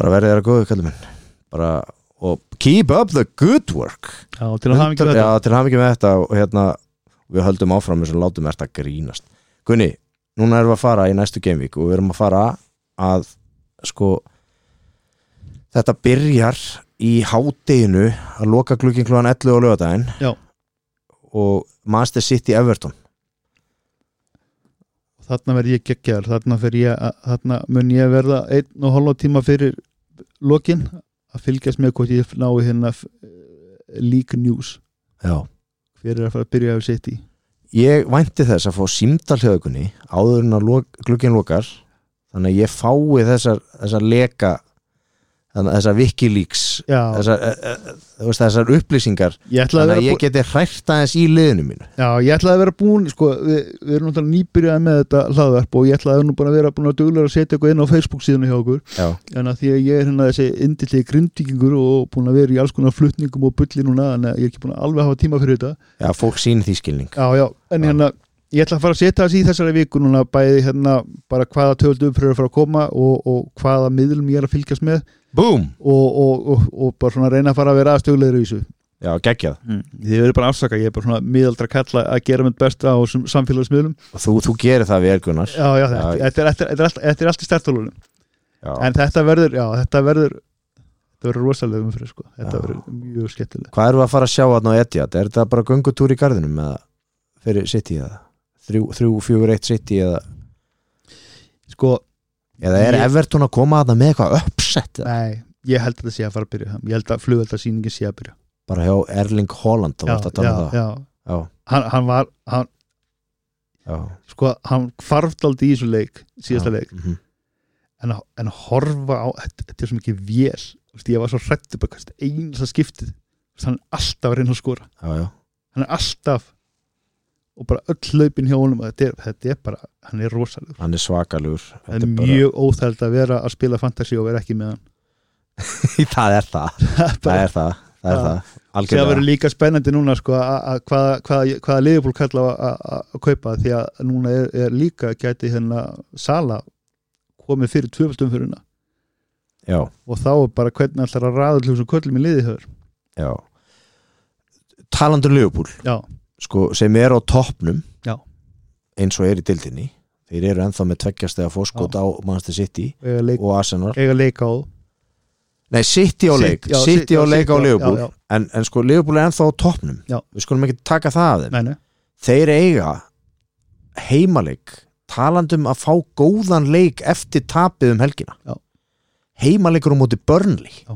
Speaker 2: bara verið þeirra góðu kallum minn bara, og keep up the good work
Speaker 3: já, til að hafa ekki þetta
Speaker 2: Já, til hafa með þetta og hérna, við höldum áfram þess að látum þetta grínast Gunni, núna erum við að fara í næstu gamevík og við erum að fara að sko þetta byrjar í hádeginu að loka glukkin klugan 11 og lögadaginn
Speaker 3: Já.
Speaker 2: og Master City Everton
Speaker 3: þarna verð ég geggjaður, þarna, fer ég, að- þarna mun ég verða einn og hálfa tíma fyrir lokin að fylgjast með hvort ég nái hérna f- leak news
Speaker 2: Já.
Speaker 3: hver er að fara að byrja að setja í
Speaker 2: Ég vænti þess að fá símdal hjá ykkunni áður en að lok, glukkin lokar þannig að ég fái þessar, þessar leka þannig að þessar Wikileaks
Speaker 3: já,
Speaker 2: þessar, eh, eh, þú veist, þessar upplýsingar
Speaker 3: ég ætlaði
Speaker 2: þannig
Speaker 3: að
Speaker 2: að
Speaker 3: vera,
Speaker 2: ég
Speaker 3: bú,
Speaker 2: geti hrært aðeins í liðinu mínu
Speaker 3: já, ég ætlaði að vera búin sko, við, við erum náttúrulega nýbyrjað með þetta hlaðverp og ég ætlaði nú bara að vera búin að duglega að setja eitthvað inn á Facebook síðan hjá okkur
Speaker 2: Já.
Speaker 3: en að því að ég er hérna þessi indillegi grindvíkingur og búin að vera í alls konar flutningum og bulli núna en ég er ekki búin að alveg hafa tíma fyrir þetta
Speaker 2: Já, fólk sín því skilning
Speaker 3: Já, já, en
Speaker 2: Já.
Speaker 3: hérna ég ætla að fara að setja þessi í þessari viku núna bæði hérna bara hvaða töldum fyrir að fara að koma og, og hvaða miðlum ég er að fylgjast með
Speaker 2: Búm!
Speaker 3: og, og, og, og bara svona reyna að fara að vera aðstöðlegri í þessu
Speaker 2: Já, geggjað
Speaker 3: mm. Þið verður bara að afsaka, ég er bara svona miðaldra kalla að gera mitt besta á þessum samfélagsmiðlum
Speaker 2: og þú, þú gerir það við Ergunar
Speaker 3: Já, já, þetta,
Speaker 2: Já.
Speaker 3: þetta, er, þetta, er, þetta, er, allt- þetta er allt í stertalunum
Speaker 2: Já.
Speaker 3: en þetta verður, já, þetta verður þetta verður rosalega umfyrir sko þetta
Speaker 2: Já.
Speaker 3: verður mjög skemmtilega
Speaker 2: Hvað erum við að fara að sjá hann á Etihad? Er þetta bara göngutúr í garðinum eða fyrir City eða? 3-4-1 City eða,
Speaker 3: Sko,
Speaker 2: eða er
Speaker 3: Ég-
Speaker 2: Everton að koma að það með eitthvað uppsett eða?
Speaker 3: nei, ég held að þetta sé að fara að byrja ég held að flugöldarsýningin sé að byrja
Speaker 2: bara hjá Erling Haaland þá varst að tala um það
Speaker 3: já, já.
Speaker 2: Já.
Speaker 3: Hann, hann var hann,
Speaker 2: Já.
Speaker 3: sko, hann kvarft aldrei í þessu leik síðasta
Speaker 2: Já.
Speaker 3: leik
Speaker 2: Mhm.
Speaker 3: en að, en að horfa á, þetta, þetta er svo mikið vél Þú veist, ég var svo hrættu bara kannski eins að skiptið Þú veist, hann er alltaf að reyna að skora
Speaker 2: Já, já.
Speaker 3: hann er alltaf og bara öll hlaupin hjá honum þetta er, þetta er bara, hann er rosalegur
Speaker 2: Hann er svakalur
Speaker 3: það er mjög óþæld að vera að spila fantasy og vera ekki með hann *laughs*
Speaker 2: *laughs* Það er það Það er það, það, er
Speaker 3: Já.
Speaker 2: það.
Speaker 3: það
Speaker 2: Algjörlega
Speaker 3: verður líka spennandi núna sko, að- að hvaða hvað, hvað liðbúl kalla að- að að kaupa því að núna er, er líka gæti hérna sala komið fyrir tvöfaldum fyrir hérna
Speaker 2: Já
Speaker 3: og þá er bara hvernig allar að ræða til þessum köllum í liði höfur
Speaker 2: Já Talandur Leopold
Speaker 3: Já.
Speaker 2: sko, sem er á toppnum
Speaker 3: Já.
Speaker 2: eins og er í dildinni þeir eru ennþá með tveggjastega fórskot á Manchester City
Speaker 3: eiga, leik,
Speaker 2: og Arsenal
Speaker 3: eiga leika á
Speaker 2: Nei, City á
Speaker 3: Sit-
Speaker 2: leik,
Speaker 3: já,
Speaker 2: City
Speaker 3: sit-
Speaker 2: á
Speaker 3: já,
Speaker 2: leik á
Speaker 3: City á- já,
Speaker 2: Liverpool
Speaker 3: já.
Speaker 2: en, en sko Liverpool er ennþá á toppnum
Speaker 3: Já.
Speaker 2: við skulum ekki taka það af þeim
Speaker 3: nei, nei.
Speaker 2: þeir eiga heimaleik talandum að fá góðan leik eftir tapið um helgina
Speaker 3: Já.
Speaker 2: heimaleikur á móti börnli
Speaker 3: Já.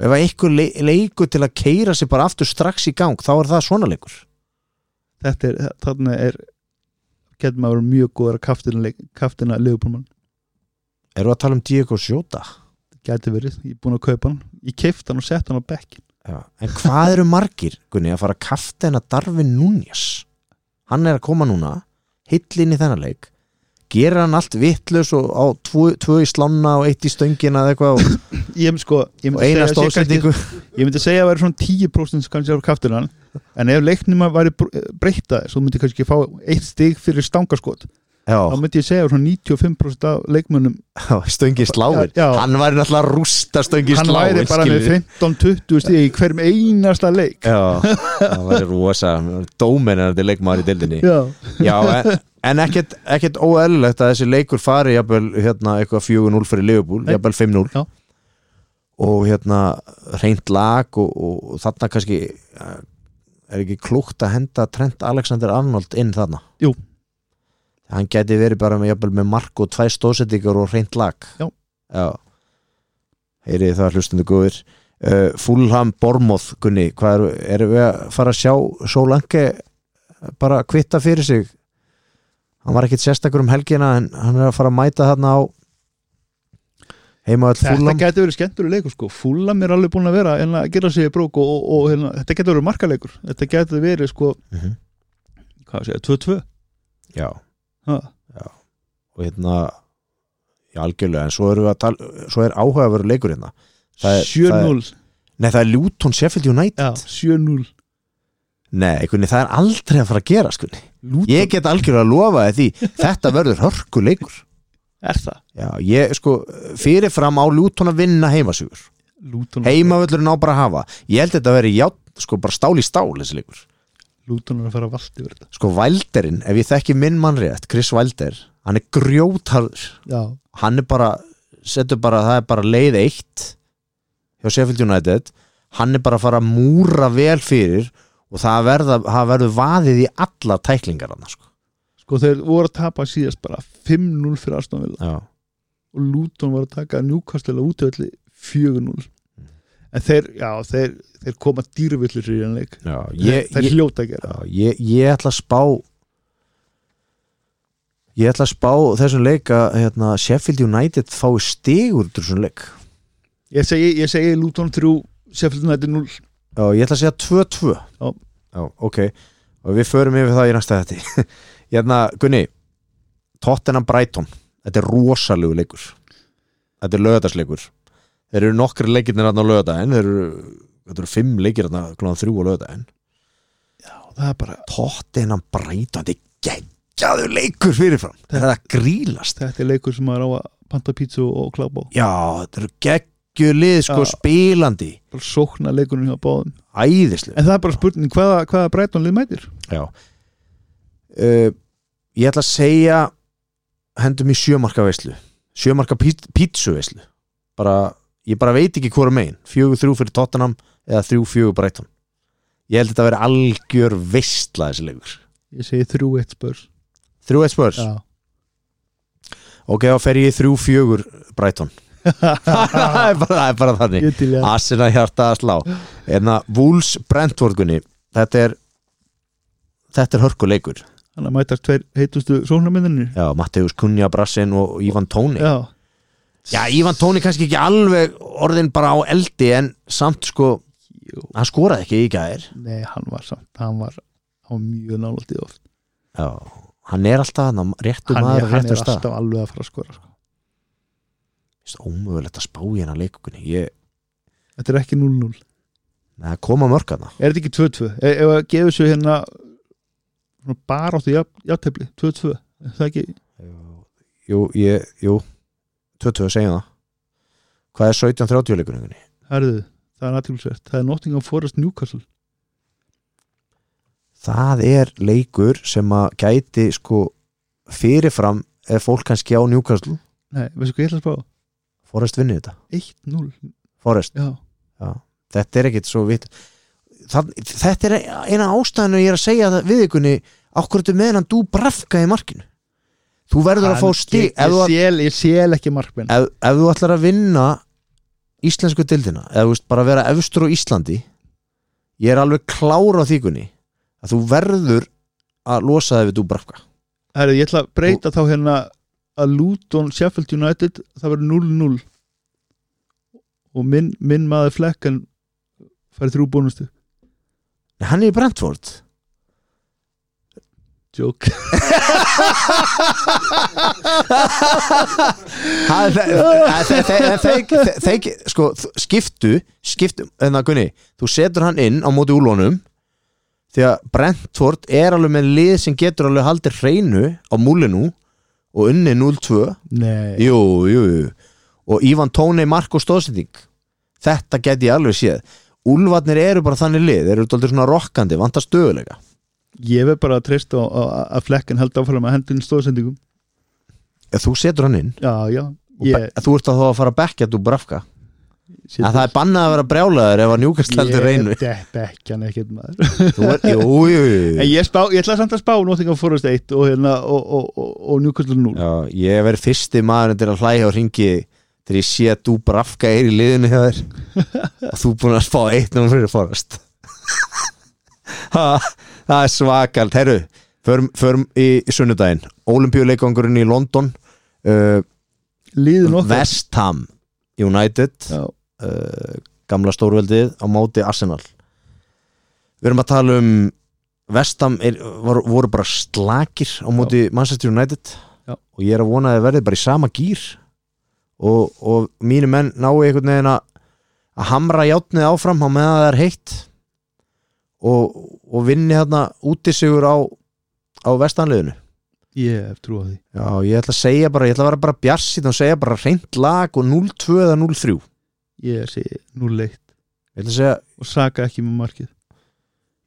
Speaker 2: ef að einhver le leikur til að keira sig bara aftur strax í gang þá er það svona leikur
Speaker 3: þetta er, þarna er getur maður mjög góður að kaftina, leik- kaftina leifbólmann,
Speaker 2: erum við að tala um Diego Sjóta
Speaker 3: getur verið ég er búin að kaupa hann, ég keift hann og sett hann á bekkin
Speaker 2: Já. en hvað eru margir Gunni, að fara að kafta hennar Darvin Núñas hann er að koma núna hill inn í þennan leik gerir hann allt vittlus og á tvö, tvö í slána og eitt í stöngina eða eitthvað og,
Speaker 3: ég myndi sko, ég
Speaker 2: og
Speaker 3: myndi segja
Speaker 2: eina
Speaker 3: að sé kannski-
Speaker 2: stóðsendingu
Speaker 3: ég myndi segja að það væri svona 10% sem kannski á kaftinan en ef leiknum að væri br- eh, breyta svo myndi kannski fá eitt stig fyrir stangaskot
Speaker 2: Já.
Speaker 3: þá myndi ég segja að svona 95% af leikmönnum
Speaker 2: Já, stöngi sláir
Speaker 3: Já, já.
Speaker 2: hann væri náttúrulega að rústa stöngi
Speaker 3: hann
Speaker 2: sláir
Speaker 3: væri bara með 15-20 stig í hverjum einasta leik
Speaker 2: já, hann væri rosa dómenandi leikmaður í dildinni
Speaker 3: já, *laughs*
Speaker 2: já, en, en ekkert, ekkert óeðlilegt að þessi leikur fari jafnvel, hérna, eitthvað 4-0 fyrir Liverpool,
Speaker 3: Nei.
Speaker 2: jafnvel 5-0
Speaker 3: Já.
Speaker 2: og hérna reynd lag og, og, og þarna kannski eh, er ekki klúkt að henda Trent Alexander Arnold inn þarna
Speaker 3: Jú.
Speaker 2: hann gæti verið bara með, jafnvel, með mark og tvær stóðsettingar og reynd lag
Speaker 3: Já.
Speaker 2: já. heyrið það hlustundu góðir uh, Fulham Bormoth Gunni, hvað eru, eru við að fara að sjá Solanke bara kvitta fyrir sig hann var ekkit sérstakur um helgina en hann er að fara að mæta þarna á heima öll
Speaker 3: þetta
Speaker 2: Fulham
Speaker 3: getur verið skemmtur leikur sko fúlam er alveg búin að vera en að gera sig í brók og, og, og hérna, þetta getur verið markaleikur þetta getur verið sko,
Speaker 2: Mhm.
Speaker 3: hvað segja, 2-2
Speaker 2: já,
Speaker 3: Ha,
Speaker 2: og hérna já, algjörlega, en svo, erum við að tala, svo er áhugaveru leikur hérna Það er-
Speaker 3: 7-0
Speaker 2: nei, það er Luton Sheffield United
Speaker 3: Já, 7-0
Speaker 2: nei, einhvernig, það er aldrei að fara að gera skunni.
Speaker 3: Lúta,
Speaker 2: ég get algjörlega að lofa þér því þetta verður hörku leikur
Speaker 3: er það?
Speaker 2: já, ég sko fyrirfram á Luton að vinna heimasugur
Speaker 3: Lúton
Speaker 2: heimavöllurinn á bara að hafa ég held að þetta að vera játn, sko bara stál í stál þessi leikur
Speaker 3: Lúton er að fara að valdi verið þetta
Speaker 2: sko Valderinn, ef ég þekki minn mann rétt Chris Valder, hann er grjótarður
Speaker 3: Já,
Speaker 2: hann er bara, setur bara það er bara leið eitt hjá Sheffield United hann er bara að fara að múra vel fyrir og það verða, það verður vaðið í alla tæklingar hann sko.
Speaker 3: sko þeir voru að tapa síðast bara 5-0 fyrir Aston Villa
Speaker 2: já,
Speaker 3: og Luton var að taka njúkastilega útöðli 4-0 en þeir, já, þeir, þeir koma dýrvillir í enn leik
Speaker 2: já, ég,
Speaker 3: þeir
Speaker 2: ég,
Speaker 3: hljóta að gera
Speaker 2: já, ég, ég ætla að spá ég ætla að spá þessum leik að hérna, Sheffield United fái stigur þessum leik
Speaker 3: ég segi, ég segi Luton 3 Sheffield United 0
Speaker 2: Já, ég ætla að segja 2-2
Speaker 3: Já.
Speaker 2: Já, ok Og við förum yfir það í næsta þetta *laughs* Hérna, Gunni Tottenham Brighton Þetta er rosalegu leikur Þetta er lögadagsleikur Þeir eru nokkri leikirnir hann á lögadaginn Þeir eru, þetta eru fimm leikir hann klóðan þrjú á lögadaginn
Speaker 3: já, það er bara,
Speaker 2: Tottenham Brighton Þetta er geggjaður leikur fyrirfram Það er að grílast
Speaker 3: þetta er leikur sem maður á að panta pítsu og klapa á
Speaker 2: Já, þetta eru geggjulið sko
Speaker 3: Já.
Speaker 2: spilandi
Speaker 3: bara sókna leikunum hjá báðum
Speaker 2: Æðislega
Speaker 3: en það er bara spurning hvaða, hvaða Brighton lið mætir
Speaker 2: Já uh, Ég ætla að segja hendum í sjömarka veislu sjömarka pítsu veislu bara, ég bara veit ekki hvora megin fjögur þrjú fyrir Tottenham eða þrjú fjögur Brighton ég held þetta að vera algjör veistla þessi leikur
Speaker 3: ég segi 3-1 spörs
Speaker 2: þrjú eitt spörs,
Speaker 3: já,
Speaker 2: ok þá fer ég í þrjú fjögur
Speaker 3: *laughs*
Speaker 2: Brighton það, er bara, það er bara þannig
Speaker 3: ég til ég
Speaker 2: Asina hjarta að slá Enna, Wolves Brentford Gunni þetta er þetta er hörkuleikur
Speaker 3: hann að mætast tveir heitustu sóknarmyndinni
Speaker 2: já, Matteus Kunja Brassin og Ivan Tóni
Speaker 3: já,
Speaker 2: Já, Ívan Tóni kannski ekki alveg orðin bara á eldi en samt sko,
Speaker 3: jú
Speaker 2: hann skoraði ekki í gæðir
Speaker 3: Nei, hann var samt, hann var á mjög nálætti oft
Speaker 2: Já, hann er alltaf hann réttum
Speaker 3: hann, er,
Speaker 2: maður á
Speaker 3: hann er
Speaker 2: réttum stað
Speaker 3: alltaf alveg að fara að skora sko.
Speaker 2: Vist, Ómögulegt að spá í hennar leikukunni Ég,
Speaker 3: Þetta er ekki 0-0
Speaker 2: Nei, það koma mörg hann
Speaker 3: Er þetta ekki 2-2? E ef að gefa sér hérna svona bara áttu játtefli 2-2, Er það ekki
Speaker 2: Jú, ég, jú 22, segjum það Hvað er 17-30 leikuninni?
Speaker 3: herðu, það er aðtjóðsvert það er Nottingham Forest Newcastle
Speaker 2: Það er leikur sem að gæti sko fyrirfram er fólk kannski á Newcastle
Speaker 3: Nei, veistu hvað ég ætla að spá?
Speaker 2: Forrest vinnir þetta
Speaker 3: 1-0
Speaker 2: Forrest,
Speaker 3: Já,
Speaker 2: þetta er ekkit svo vitt Það, þetta er eina ástæðinu ég er að segja það við ykkurni okkur þetta meðan þú brafka í markinu þú verður að fá stig
Speaker 3: ég,
Speaker 2: ef þú
Speaker 3: ég, sél, ég sél ekki markminn
Speaker 2: ef, ef þú ætlar að vinna íslensku dildina eða þú veist bara að vera efstur á Íslandi ég er alveg klára á þýkunni að þú verður að losa það við Dúbrafka
Speaker 3: Herru, ég ætla að breyta þá hérna að Luton Sheffield United það verður 0-0 og minn, minn maður flekkan fær þrjú bónustu
Speaker 2: en hann er í Brentford
Speaker 3: Jók
Speaker 2: Ha,
Speaker 3: *laughs*
Speaker 2: þe- þe- þe- þe- þe- þe- sko, þ- skiptu skiptu, en það Gunni þú setur hann inn á móti úlónum því að Brentford er alveg með lið sem getur alveg haldið hreinu á múlinu og unni 0-2
Speaker 3: *laughs* Nei
Speaker 2: jú, jú, jú. og Ívan Tónei Marko Stóðsending þetta get ég alveg séð Úlfarnir eru bara þannig lið, þeir eru alltaf svona rokkandi, vantar stöðuleika
Speaker 3: Ég verð bara að treysta á, á, að flekkan held áfram að hendun stóðsendingum
Speaker 2: ef þú setur hann inn
Speaker 3: Já, já
Speaker 2: og
Speaker 3: Ég,
Speaker 2: be- þú ert að þá að fara að bekka þú brafka,
Speaker 3: sé-
Speaker 2: en það er bannað að vera brjálaður ef að njúkast heldur reynu
Speaker 3: Ég depp ekki hann ekkert maður
Speaker 2: Þú er- jú, jú,
Speaker 3: *laughs*
Speaker 2: jú,
Speaker 3: En
Speaker 2: jú.
Speaker 3: ég, spá, ég ætla samt að spá Nottingham Forest 1 og, hérna, og, og, og, og Newcastle 0
Speaker 2: Já, ég hef verið fyrsti maðurinn til að hlæja og ringi þegar ég sé að þú brafka er í liðinu hjá þér og þú búin að spá eitt núna fyrir forast *laughs* ha, það er svakalt herru, förum, förum í sunnudaginn olimpíuleikangurinn í London uh,
Speaker 3: Líðin okkar
Speaker 2: West Ham United
Speaker 3: Já,
Speaker 2: uh, gamla stórveldið á móti Arsenal við erum að tala um West Ham er, var, voru bara slakir á móti Manchester United
Speaker 3: Já.
Speaker 2: og ég er að vona að þið verðið bara í sama gýr og, og mínu menn náu einhvern veginn að að hamra játnið áfram á meðan það er heitt og, og vinni þarna útisigur á, á vestanliðinu
Speaker 3: ég hef trú á því
Speaker 2: Já, ég ætla að segja bara, ég ætla að vera bara bjarsið og segja bara reynd lag og 0-2 eða 0-3 ég
Speaker 3: Ég sé 0-1
Speaker 2: ætla að segja
Speaker 3: og Saka ekki með markið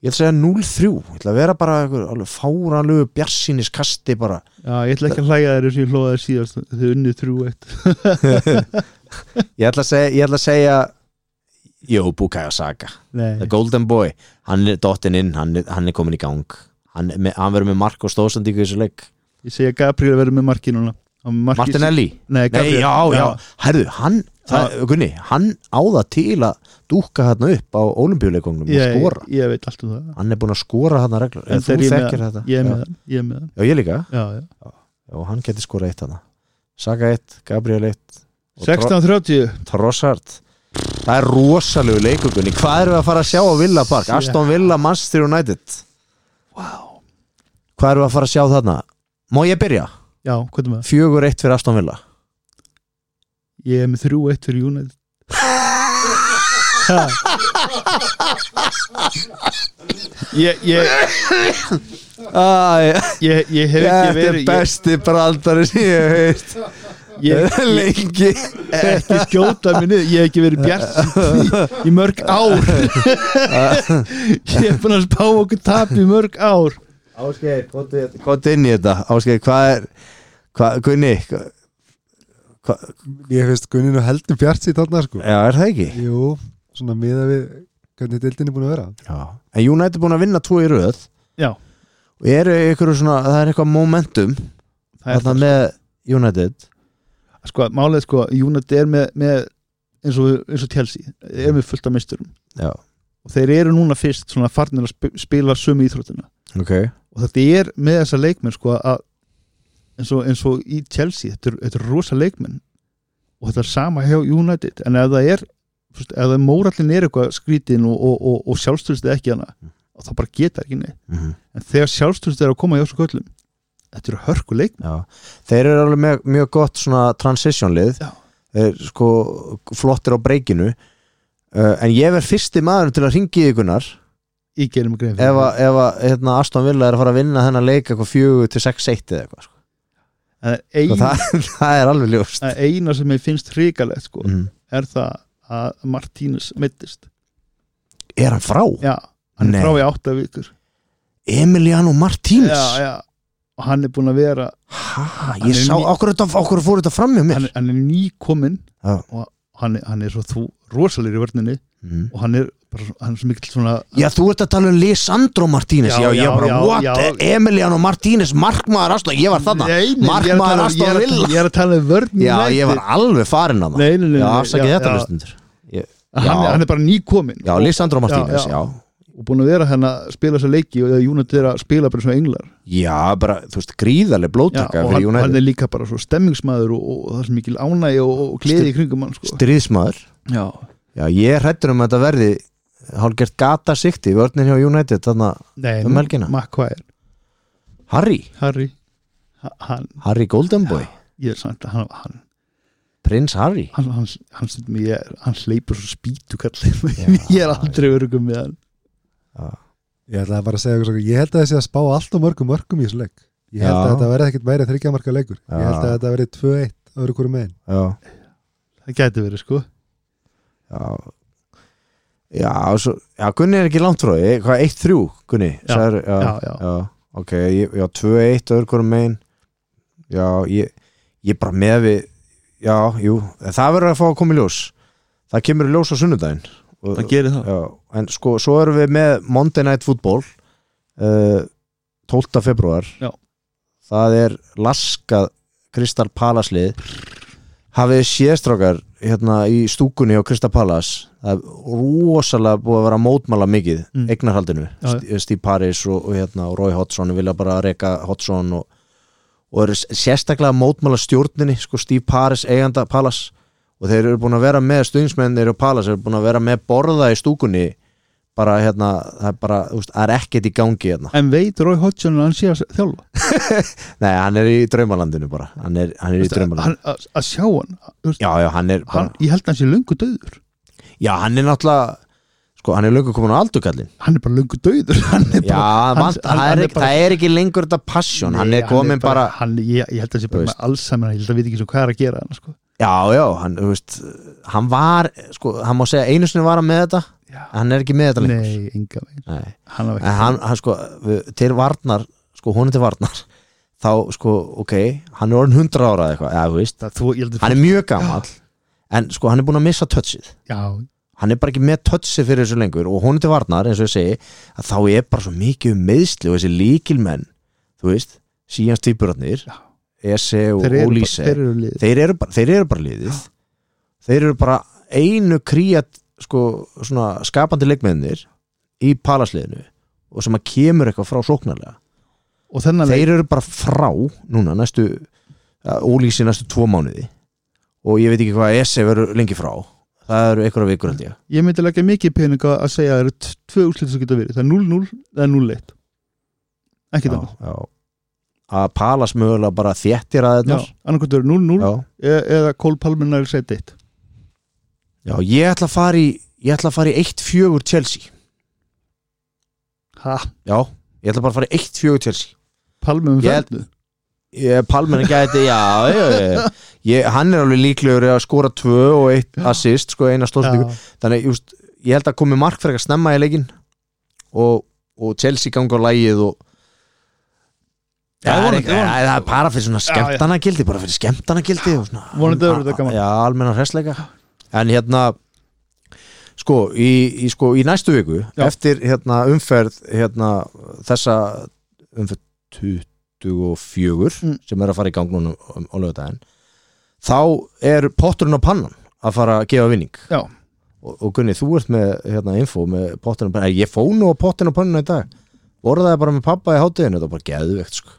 Speaker 2: Ég ætla að segja 0-3 Ég ætla að vera bara einhver alveg fáranlegu bjarsinis kasti bara
Speaker 3: Já, ég ætla ekki að hlæja þeir sem ég hlóða þér síðast þau unnið 3-1
Speaker 2: Ég ætla að segja, ég ætla að segja Jó, Bukayo Saka
Speaker 3: Nei,
Speaker 2: The Golden Boy, hann er dottinn inn hann er, hann er komin í gang Hann, er með- hann verður með Marko Stóðsandíku í þessu leik
Speaker 3: ég segja Gabriel að vera með markið núna Hann er með markið-
Speaker 2: Martinelli
Speaker 3: Nei,
Speaker 2: Nei, já,
Speaker 3: Gabriel
Speaker 2: já, herðu, hann það, Gunni, hann áða til að dúka þarna upp á olimpíuleikongum og
Speaker 3: Ég,
Speaker 2: skora
Speaker 3: ég veit allt um það
Speaker 2: Hann er búin að skora þarna reglur
Speaker 3: En
Speaker 2: En þú
Speaker 3: þeir- ég með-
Speaker 2: þekkir þetta
Speaker 3: Ég er með
Speaker 2: já.
Speaker 3: hann, ég er með hann
Speaker 2: já, ég líka
Speaker 3: Já, já
Speaker 2: Já, hann getur skorað eitt hana Saga eitt, Gabriel eitt og
Speaker 3: 16.30
Speaker 2: Trossard Það er rosalegu leikugunni Hvað erum við að fara að sjá á Villa Park?
Speaker 3: Shit.
Speaker 2: Aston Villa, Manchester United
Speaker 3: Wow
Speaker 2: Hvað erum við að fara að sjá þarna? Má ég byrja?
Speaker 3: Já, hvað er með það?
Speaker 2: Fjögur eitt fyrir Aston Villa
Speaker 3: Ég er með 3-1 fyrir United Ha. Ég, ég,
Speaker 2: Æ,
Speaker 3: ég, ég hef ekki verið ég,
Speaker 2: besti braldari sem ég veist
Speaker 3: ég,
Speaker 2: Lengi
Speaker 3: ekki skjóta mér niður ég hef ekki verið bjart í, í mörg ár ég hef búin að spá okkur tap í mörg ár
Speaker 2: Ásgeir,
Speaker 3: hérna.
Speaker 2: hvað inn í þetta? Ásgeir, hvað er hvað, Gunni, hvað-
Speaker 4: Ég finnst Gunni nú heldur bjart sér þarna sko
Speaker 2: já, er það ekki?
Speaker 4: Jú, svona miða við hvernig deildin er búin að vera
Speaker 2: Já. En United er búin að vinna tvo í röð
Speaker 3: já,
Speaker 2: og eru ykkur svona, það er eitthvað momentum
Speaker 3: það er
Speaker 2: þarna
Speaker 3: það
Speaker 2: með United
Speaker 3: sko, málið er sko, United er með, með eins, og, eins og Chelsea er með fullt af misturum
Speaker 2: Já,
Speaker 3: og þeir eru núna fyrst svona farnir að sp- spila sömu íþróttina
Speaker 2: ok
Speaker 3: og þetta er með þessa leikmenn sko að eins og, eins og í Chelsea þetta er, þetta er rosa leikmenn og þetta er sama hjá United en ef það er, þú veist, ef það mórallin er eitthvað skrítin og, og, og, og sjálfstyrst ekki hana og það bara geta ekki neitt
Speaker 2: mm -hmm.
Speaker 3: en þegar sjálfstyrst er að koma hjá þessu köllum þetta eru hörku leikmenn
Speaker 2: Já, þeir eru alveg með, mjög gott svona transition lið
Speaker 3: Já.
Speaker 2: þeir eru sko flottir á breykinu uh, en ég verð fyrsti maður til að ringi ykkurnar
Speaker 3: ég gerir mig grein
Speaker 2: ef
Speaker 3: fyrir
Speaker 2: að, ef að hérna, Aston Villa er að fara að vinna þennan leik eitthvað fjögur til 6-1 eða eitthvað sko.
Speaker 3: það
Speaker 2: Ein...
Speaker 3: en
Speaker 2: sko, það, *laughs* það er alveg ljóst
Speaker 3: það eina sem ég finnst hrikalegt sko
Speaker 2: mm.
Speaker 3: er það að Martínez mittist
Speaker 2: Er hann frá?
Speaker 3: já, hann
Speaker 2: Nei.
Speaker 3: er frá í átta vikur
Speaker 2: Emiliano Martínez?
Speaker 3: já, já, og hann er búin að vera
Speaker 2: Hæ,
Speaker 3: Hann
Speaker 2: ég
Speaker 3: er
Speaker 2: sá,
Speaker 3: ný-
Speaker 2: okkur, þetta, okkur fór þetta fram með mér
Speaker 3: hann, hann er nýkominn
Speaker 2: Já.
Speaker 3: og hann, er- hann er svo þú rosalegri vörninni
Speaker 2: mm.
Speaker 3: og hann er bara, svo- hann er svo mikill svona
Speaker 2: Já, þú ert að tala um Lisandro Martínez Já,
Speaker 3: Já,
Speaker 2: já,
Speaker 3: já,
Speaker 2: bara,
Speaker 3: já,
Speaker 2: what,
Speaker 3: já.
Speaker 2: Emiliano Martínez Markmaður Aston, ég var þarna
Speaker 3: Nei, nei, ég er að
Speaker 2: Markmaður
Speaker 3: tala- ég
Speaker 2: Aston
Speaker 3: er að-
Speaker 2: Villa
Speaker 3: ég er að tala um vörn
Speaker 2: Já, ég var alveg farin að maður
Speaker 3: nei, nei, nei, nei,
Speaker 2: Já, afsakið
Speaker 3: já,
Speaker 2: þetta
Speaker 3: já.
Speaker 2: hlustundur
Speaker 3: hann,
Speaker 2: Já.
Speaker 3: er- hann er bara nýkominn
Speaker 2: Já,
Speaker 3: og,
Speaker 2: Lisandro Martínez,
Speaker 3: já.
Speaker 2: já
Speaker 3: og búin að vera hann að spila þessa leiki og Júnat er að spila bara eins og englar
Speaker 2: Já, bara, þú veist, gríðarlega
Speaker 3: Já,
Speaker 2: blóttaka
Speaker 3: og
Speaker 2: fyrir
Speaker 3: hann, hann
Speaker 2: United
Speaker 3: er líka bara svo stemmingsmaður og, og, það er sem mikil ánægi og, og gleði í kringum hann sko.
Speaker 2: Stríðsmaður
Speaker 3: já,
Speaker 2: Já, ég hrættur um að þetta verði hálfgert gata sikti vörnir hjá United þarna
Speaker 3: nei,
Speaker 2: Um helgina?
Speaker 3: McQuire,
Speaker 2: Harry,
Speaker 3: Harry ha- hann,
Speaker 2: Harry Golden Boy
Speaker 3: ég er samt að hann hann,
Speaker 2: Prins Harry
Speaker 3: hann, hann, hann, hann, ég, hann hleypur svo spýtu *laughs* kalli ég er aldrei örugum með hann
Speaker 4: Ég ætlaði bara að segja eitthvað, ég held að þessi að spá allt og mörgum mörgum í þessu leik Ég held
Speaker 2: Já.
Speaker 4: að þetta verði ekkit meira þryggja marka leikur Ég
Speaker 2: Já.
Speaker 4: held að þetta verði 2-1 öðru hverju megin
Speaker 2: Já,
Speaker 3: það gæti verið sko
Speaker 2: já Já, svo, já Gunni er ekki langt frá því Hvað, 1-3, Gunni?
Speaker 3: Já,
Speaker 2: Sagður, já,
Speaker 3: já, já.
Speaker 2: ok, ég- já, 2-1 öðru hverju megin Já, ég, ég bara með við Já, jú, það verður að fá að koma í ljós Það kemur í ljós á sunnudaginn og,
Speaker 5: það gerir það
Speaker 2: Já, en sko, svo erum við með Monday Night Football uh, 12. februar
Speaker 3: Já.
Speaker 2: það er laskað Kristal Palaslið hafið séðstrákar hérna í stúkunni á Kristal Palas það er rosalega búið að vera að mótmæla mikið,
Speaker 3: Mm.
Speaker 2: eignarhaldinu
Speaker 3: Já, já.
Speaker 2: St- Steve Paris og, og, hérna, og Roy Hodgson vilja bara reka Hodgson og, og eru s- sérstaklega að mótmæla stjórninni sko Steve Paris eiganda Palas og þeir eru búin að vera með stuðningsmennir og Palas eru búin að vera með borða í stúkunni bara hérna það er, bara, úst, það er ekkert í gangi hérna
Speaker 3: en veit Rói Hodgson að hann sé að þjálfa
Speaker 2: nei hann er í draumalandinu bara hann er, hann er í
Speaker 3: Veistu,
Speaker 2: draumalandinu
Speaker 3: hann- að að sjá hann, þú veist,
Speaker 2: já já hann er bara,
Speaker 3: hann ég held að hann sé löngu döður
Speaker 2: já hann er náttúrulega sko hann er löngu komin á aldukallin
Speaker 3: hann er bara löngu döður *laughs* hann er
Speaker 2: já
Speaker 3: bara
Speaker 2: hann,
Speaker 3: hann- hann-
Speaker 2: það,
Speaker 3: hann
Speaker 2: er,
Speaker 3: er
Speaker 2: ekki-
Speaker 3: bara-
Speaker 2: það er ekki lengur þetta passion hann
Speaker 3: Nei,
Speaker 2: er komin
Speaker 3: er bara,
Speaker 2: bara
Speaker 3: hann, ég, ég held að það sé
Speaker 2: Þú
Speaker 3: bara
Speaker 2: veist.
Speaker 3: með Alzheimer ég held að við ekki svo hvað er að gera hann sko.
Speaker 2: Já, já, hann, þú veist, hann var, sko, hann má segja einu sinni var hann með þetta, hann er ekki með þetta lengur.
Speaker 3: nei, enga veginn sko.
Speaker 2: Nei.
Speaker 3: hann var
Speaker 2: En
Speaker 3: ekki
Speaker 2: hann, hann, sko, við- til varnar, sko, hún er til varnar, *laughs* þá, sko, ok, hann er orðin 100 ára eða eitthvað, eða, þú veist,
Speaker 3: það, þú, ég held að
Speaker 2: hann er mjög gamall, en, sko, hann er búin að missa touchið.
Speaker 3: já,
Speaker 2: Hann er bara ekki með touchið fyrir þessu lengur og hún er til varnar, eins og ég segi, að þá er bara svo mikið um meiðsli og þessi líkilmenn, þú veist, síjans týpurarnir,
Speaker 3: Já.
Speaker 2: Ese og
Speaker 3: þeir eru, bara-
Speaker 2: Olise
Speaker 3: þeir eru lið
Speaker 2: þeir eru bara, þeir eru bara liðið þeir eru bara einu kríat sko, svona skapandi leikmennir í palasliðinu og sem að kemur eitthvað frá sóknarlega
Speaker 3: og þennan leik,
Speaker 2: þeir eru bara frá núna næstu, ja, ólýsi næstu tvo mánuði og ég veit ekki hvað SE verður lengi frá það eru einhverja vikur held ég
Speaker 3: ég myndi leggja mikið pening á að segja að það eru t- tvö úrslit sem geta verið, það er 0-0 eða 0-1 ekki
Speaker 2: já,
Speaker 3: það
Speaker 2: já. að palas mögulega bara þéttir að þetta
Speaker 3: annarkvæmt verður 0-0
Speaker 2: já.
Speaker 3: e- eða Kól Palminar er sett eitt
Speaker 2: já, ég ætla að fara í ég ætla að fara í 1-4 Chelsea
Speaker 3: ha,
Speaker 2: já, ég ætla bara að fara í 1-4 Chelsea
Speaker 3: Palmin
Speaker 2: Ég held-
Speaker 3: fældu
Speaker 2: Ég, Palmer gæti, já, já, já. Ég, hann er alveg líklegur í að skora tvö og eitt assist, sko, eina stórstíku þannig, just, ég held að komi mark frekar snemma í leikin og, og Chelsea ganga á lægið og
Speaker 3: Já,
Speaker 2: það, er,
Speaker 3: vonandi,
Speaker 2: ekki- það er- það er bara fyrir svona
Speaker 3: já.
Speaker 2: skemmtana gildi bara fyrir skemmtana gildi og svona
Speaker 3: Vonandi verður þetta gaman.
Speaker 2: já, almenna hressleika en hérna sko, í, í, sko, í næstu viku
Speaker 3: Já.
Speaker 2: eftir hérna, umferð hérna, þessa umferð 24
Speaker 3: Mm.
Speaker 2: sem er að fara í gang núna um- á lögudaginn þá er potturinn á pannan að fara að gefa vinning
Speaker 3: Já.
Speaker 2: og, og Gunni, þú ert með hérna, info með potturinn á pannan, ég fó nú á potturinn á pannan í dag voruðaði bara með pappa í hátíðinu þetta var bara geðvegt sko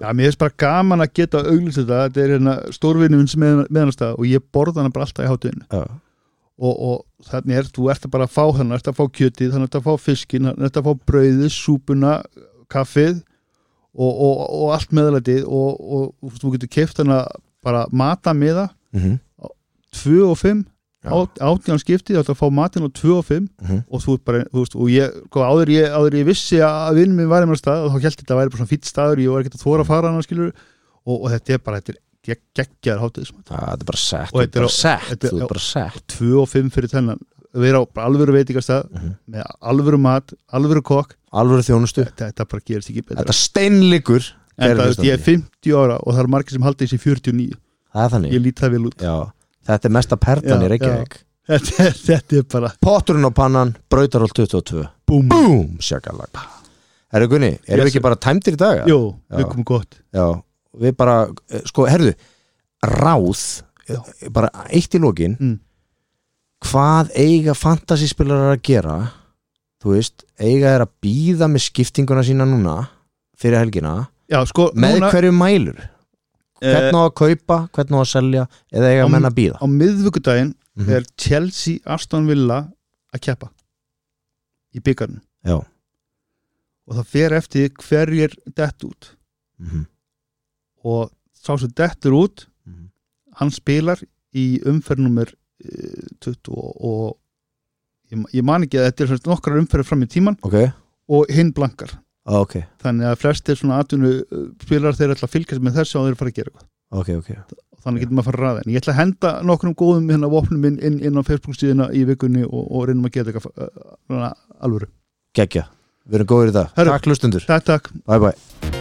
Speaker 3: Já, mér finnst bara gaman að geta auglýst þetta þetta er hérna stórvinnum sem meðanastað og ég borða hana bara alltaf í hátuðinu
Speaker 2: Já.
Speaker 3: og, og þannig er, þú ert að bara að fá þannig ert að fá kjötið, þannig ert að fá fiskin þannig ert að fá brauðið, súpuna kaffið og, og, og allt meðlætið og, og, og þú getur keft þannig að bara mata með það
Speaker 2: Mhm.
Speaker 3: 2 og 5
Speaker 2: Já.
Speaker 3: átján skiptið, þú ert að fá matinn á 2 og 5
Speaker 2: Mhm.
Speaker 3: og þú ert bara, þú veist, og ég, hvað, áður, ég áður ég vissi að vinn minn væri með stað og þá held ég þetta væri bara svona fýtt staður, ég var ekkert að þóra að fara hana skilur, og, og þetta er bara þetta er gegg- geggjaður hátíð sko. sem
Speaker 2: það þetta er bara sett,
Speaker 3: Og
Speaker 2: þú er
Speaker 3: þetta er
Speaker 2: bara
Speaker 3: á-
Speaker 2: sett,
Speaker 3: þetta er-
Speaker 2: þú er bara sett.
Speaker 3: 2 og 5 fyrir þennan vera á bara alvöru veitingastað
Speaker 2: Mhm.
Speaker 3: með alvöru mat, alvöru kokk
Speaker 2: alvöru þjónustu
Speaker 3: þetta, þetta bara gerist ekki betra
Speaker 2: þetta steinleikur
Speaker 3: en
Speaker 2: Kæru
Speaker 3: það, þú veist, ég er
Speaker 2: hlustandi.
Speaker 3: 50 ára og það er margir sem haldi þessi 49
Speaker 2: það er þannig
Speaker 3: ég lít það vel út *laughs*
Speaker 2: já, þetta er mesta perlan
Speaker 3: Já,
Speaker 2: í Reykjavík
Speaker 3: þetta, er- þetta er bara
Speaker 2: potturinn og pannan, brautarhól 22
Speaker 3: búm
Speaker 2: búm, sjakalag herru Gunni, erum við
Speaker 3: Yes.
Speaker 2: ekki bara tæmtir í dag? eða?
Speaker 3: jú,
Speaker 2: Já.
Speaker 3: við komum gott
Speaker 2: já, við bara, eh, sko, herru ráð,
Speaker 3: Já.
Speaker 2: eh, bara eitt í lokin
Speaker 3: Mm.
Speaker 2: hvað eiga fantasyspilarar að gera þú veist, eiga er að býða með skiptinguna sína núna fyrir helgina,
Speaker 3: já, sko,
Speaker 2: með
Speaker 3: núna,
Speaker 2: hverju mælur
Speaker 3: eh,
Speaker 2: hvernig á að kaupa, hvernig á að selja eða eiga
Speaker 3: Á-
Speaker 2: menn að býða
Speaker 3: á miðvíkudaginn
Speaker 2: Mhm.
Speaker 3: er Chelsea Aston Villa að keppa í byggarnu
Speaker 2: Já.
Speaker 3: og það fer eftir því hverjir dett út
Speaker 2: Mhm.
Speaker 3: og sá sem dettur út
Speaker 2: Mhm.
Speaker 3: hann spilar í umferðnumur 20 og, og ég, ma- ég man ekki að þetta er svona nokkrar umferðir fram í tíman
Speaker 2: ok,
Speaker 3: og hinn blankar
Speaker 2: ah, ok,
Speaker 3: þannig að flestir svona atvinnu spilar þeir ætla að fylgjast með þessu og þeir fara að gera eitthvað
Speaker 2: ok, ok
Speaker 3: og þannig getur maður að fara að ræða en ég ætla að henda nokkrum góðum hérna vopnum inn, inn, inn á Facebook síðuna í vikunni og, og reynum að geta eitthvað uh, alvöru.
Speaker 2: geggja, við erum góðir í dag
Speaker 3: Herru.
Speaker 2: takk hlustundur,
Speaker 3: Takk, takk.
Speaker 2: bye bye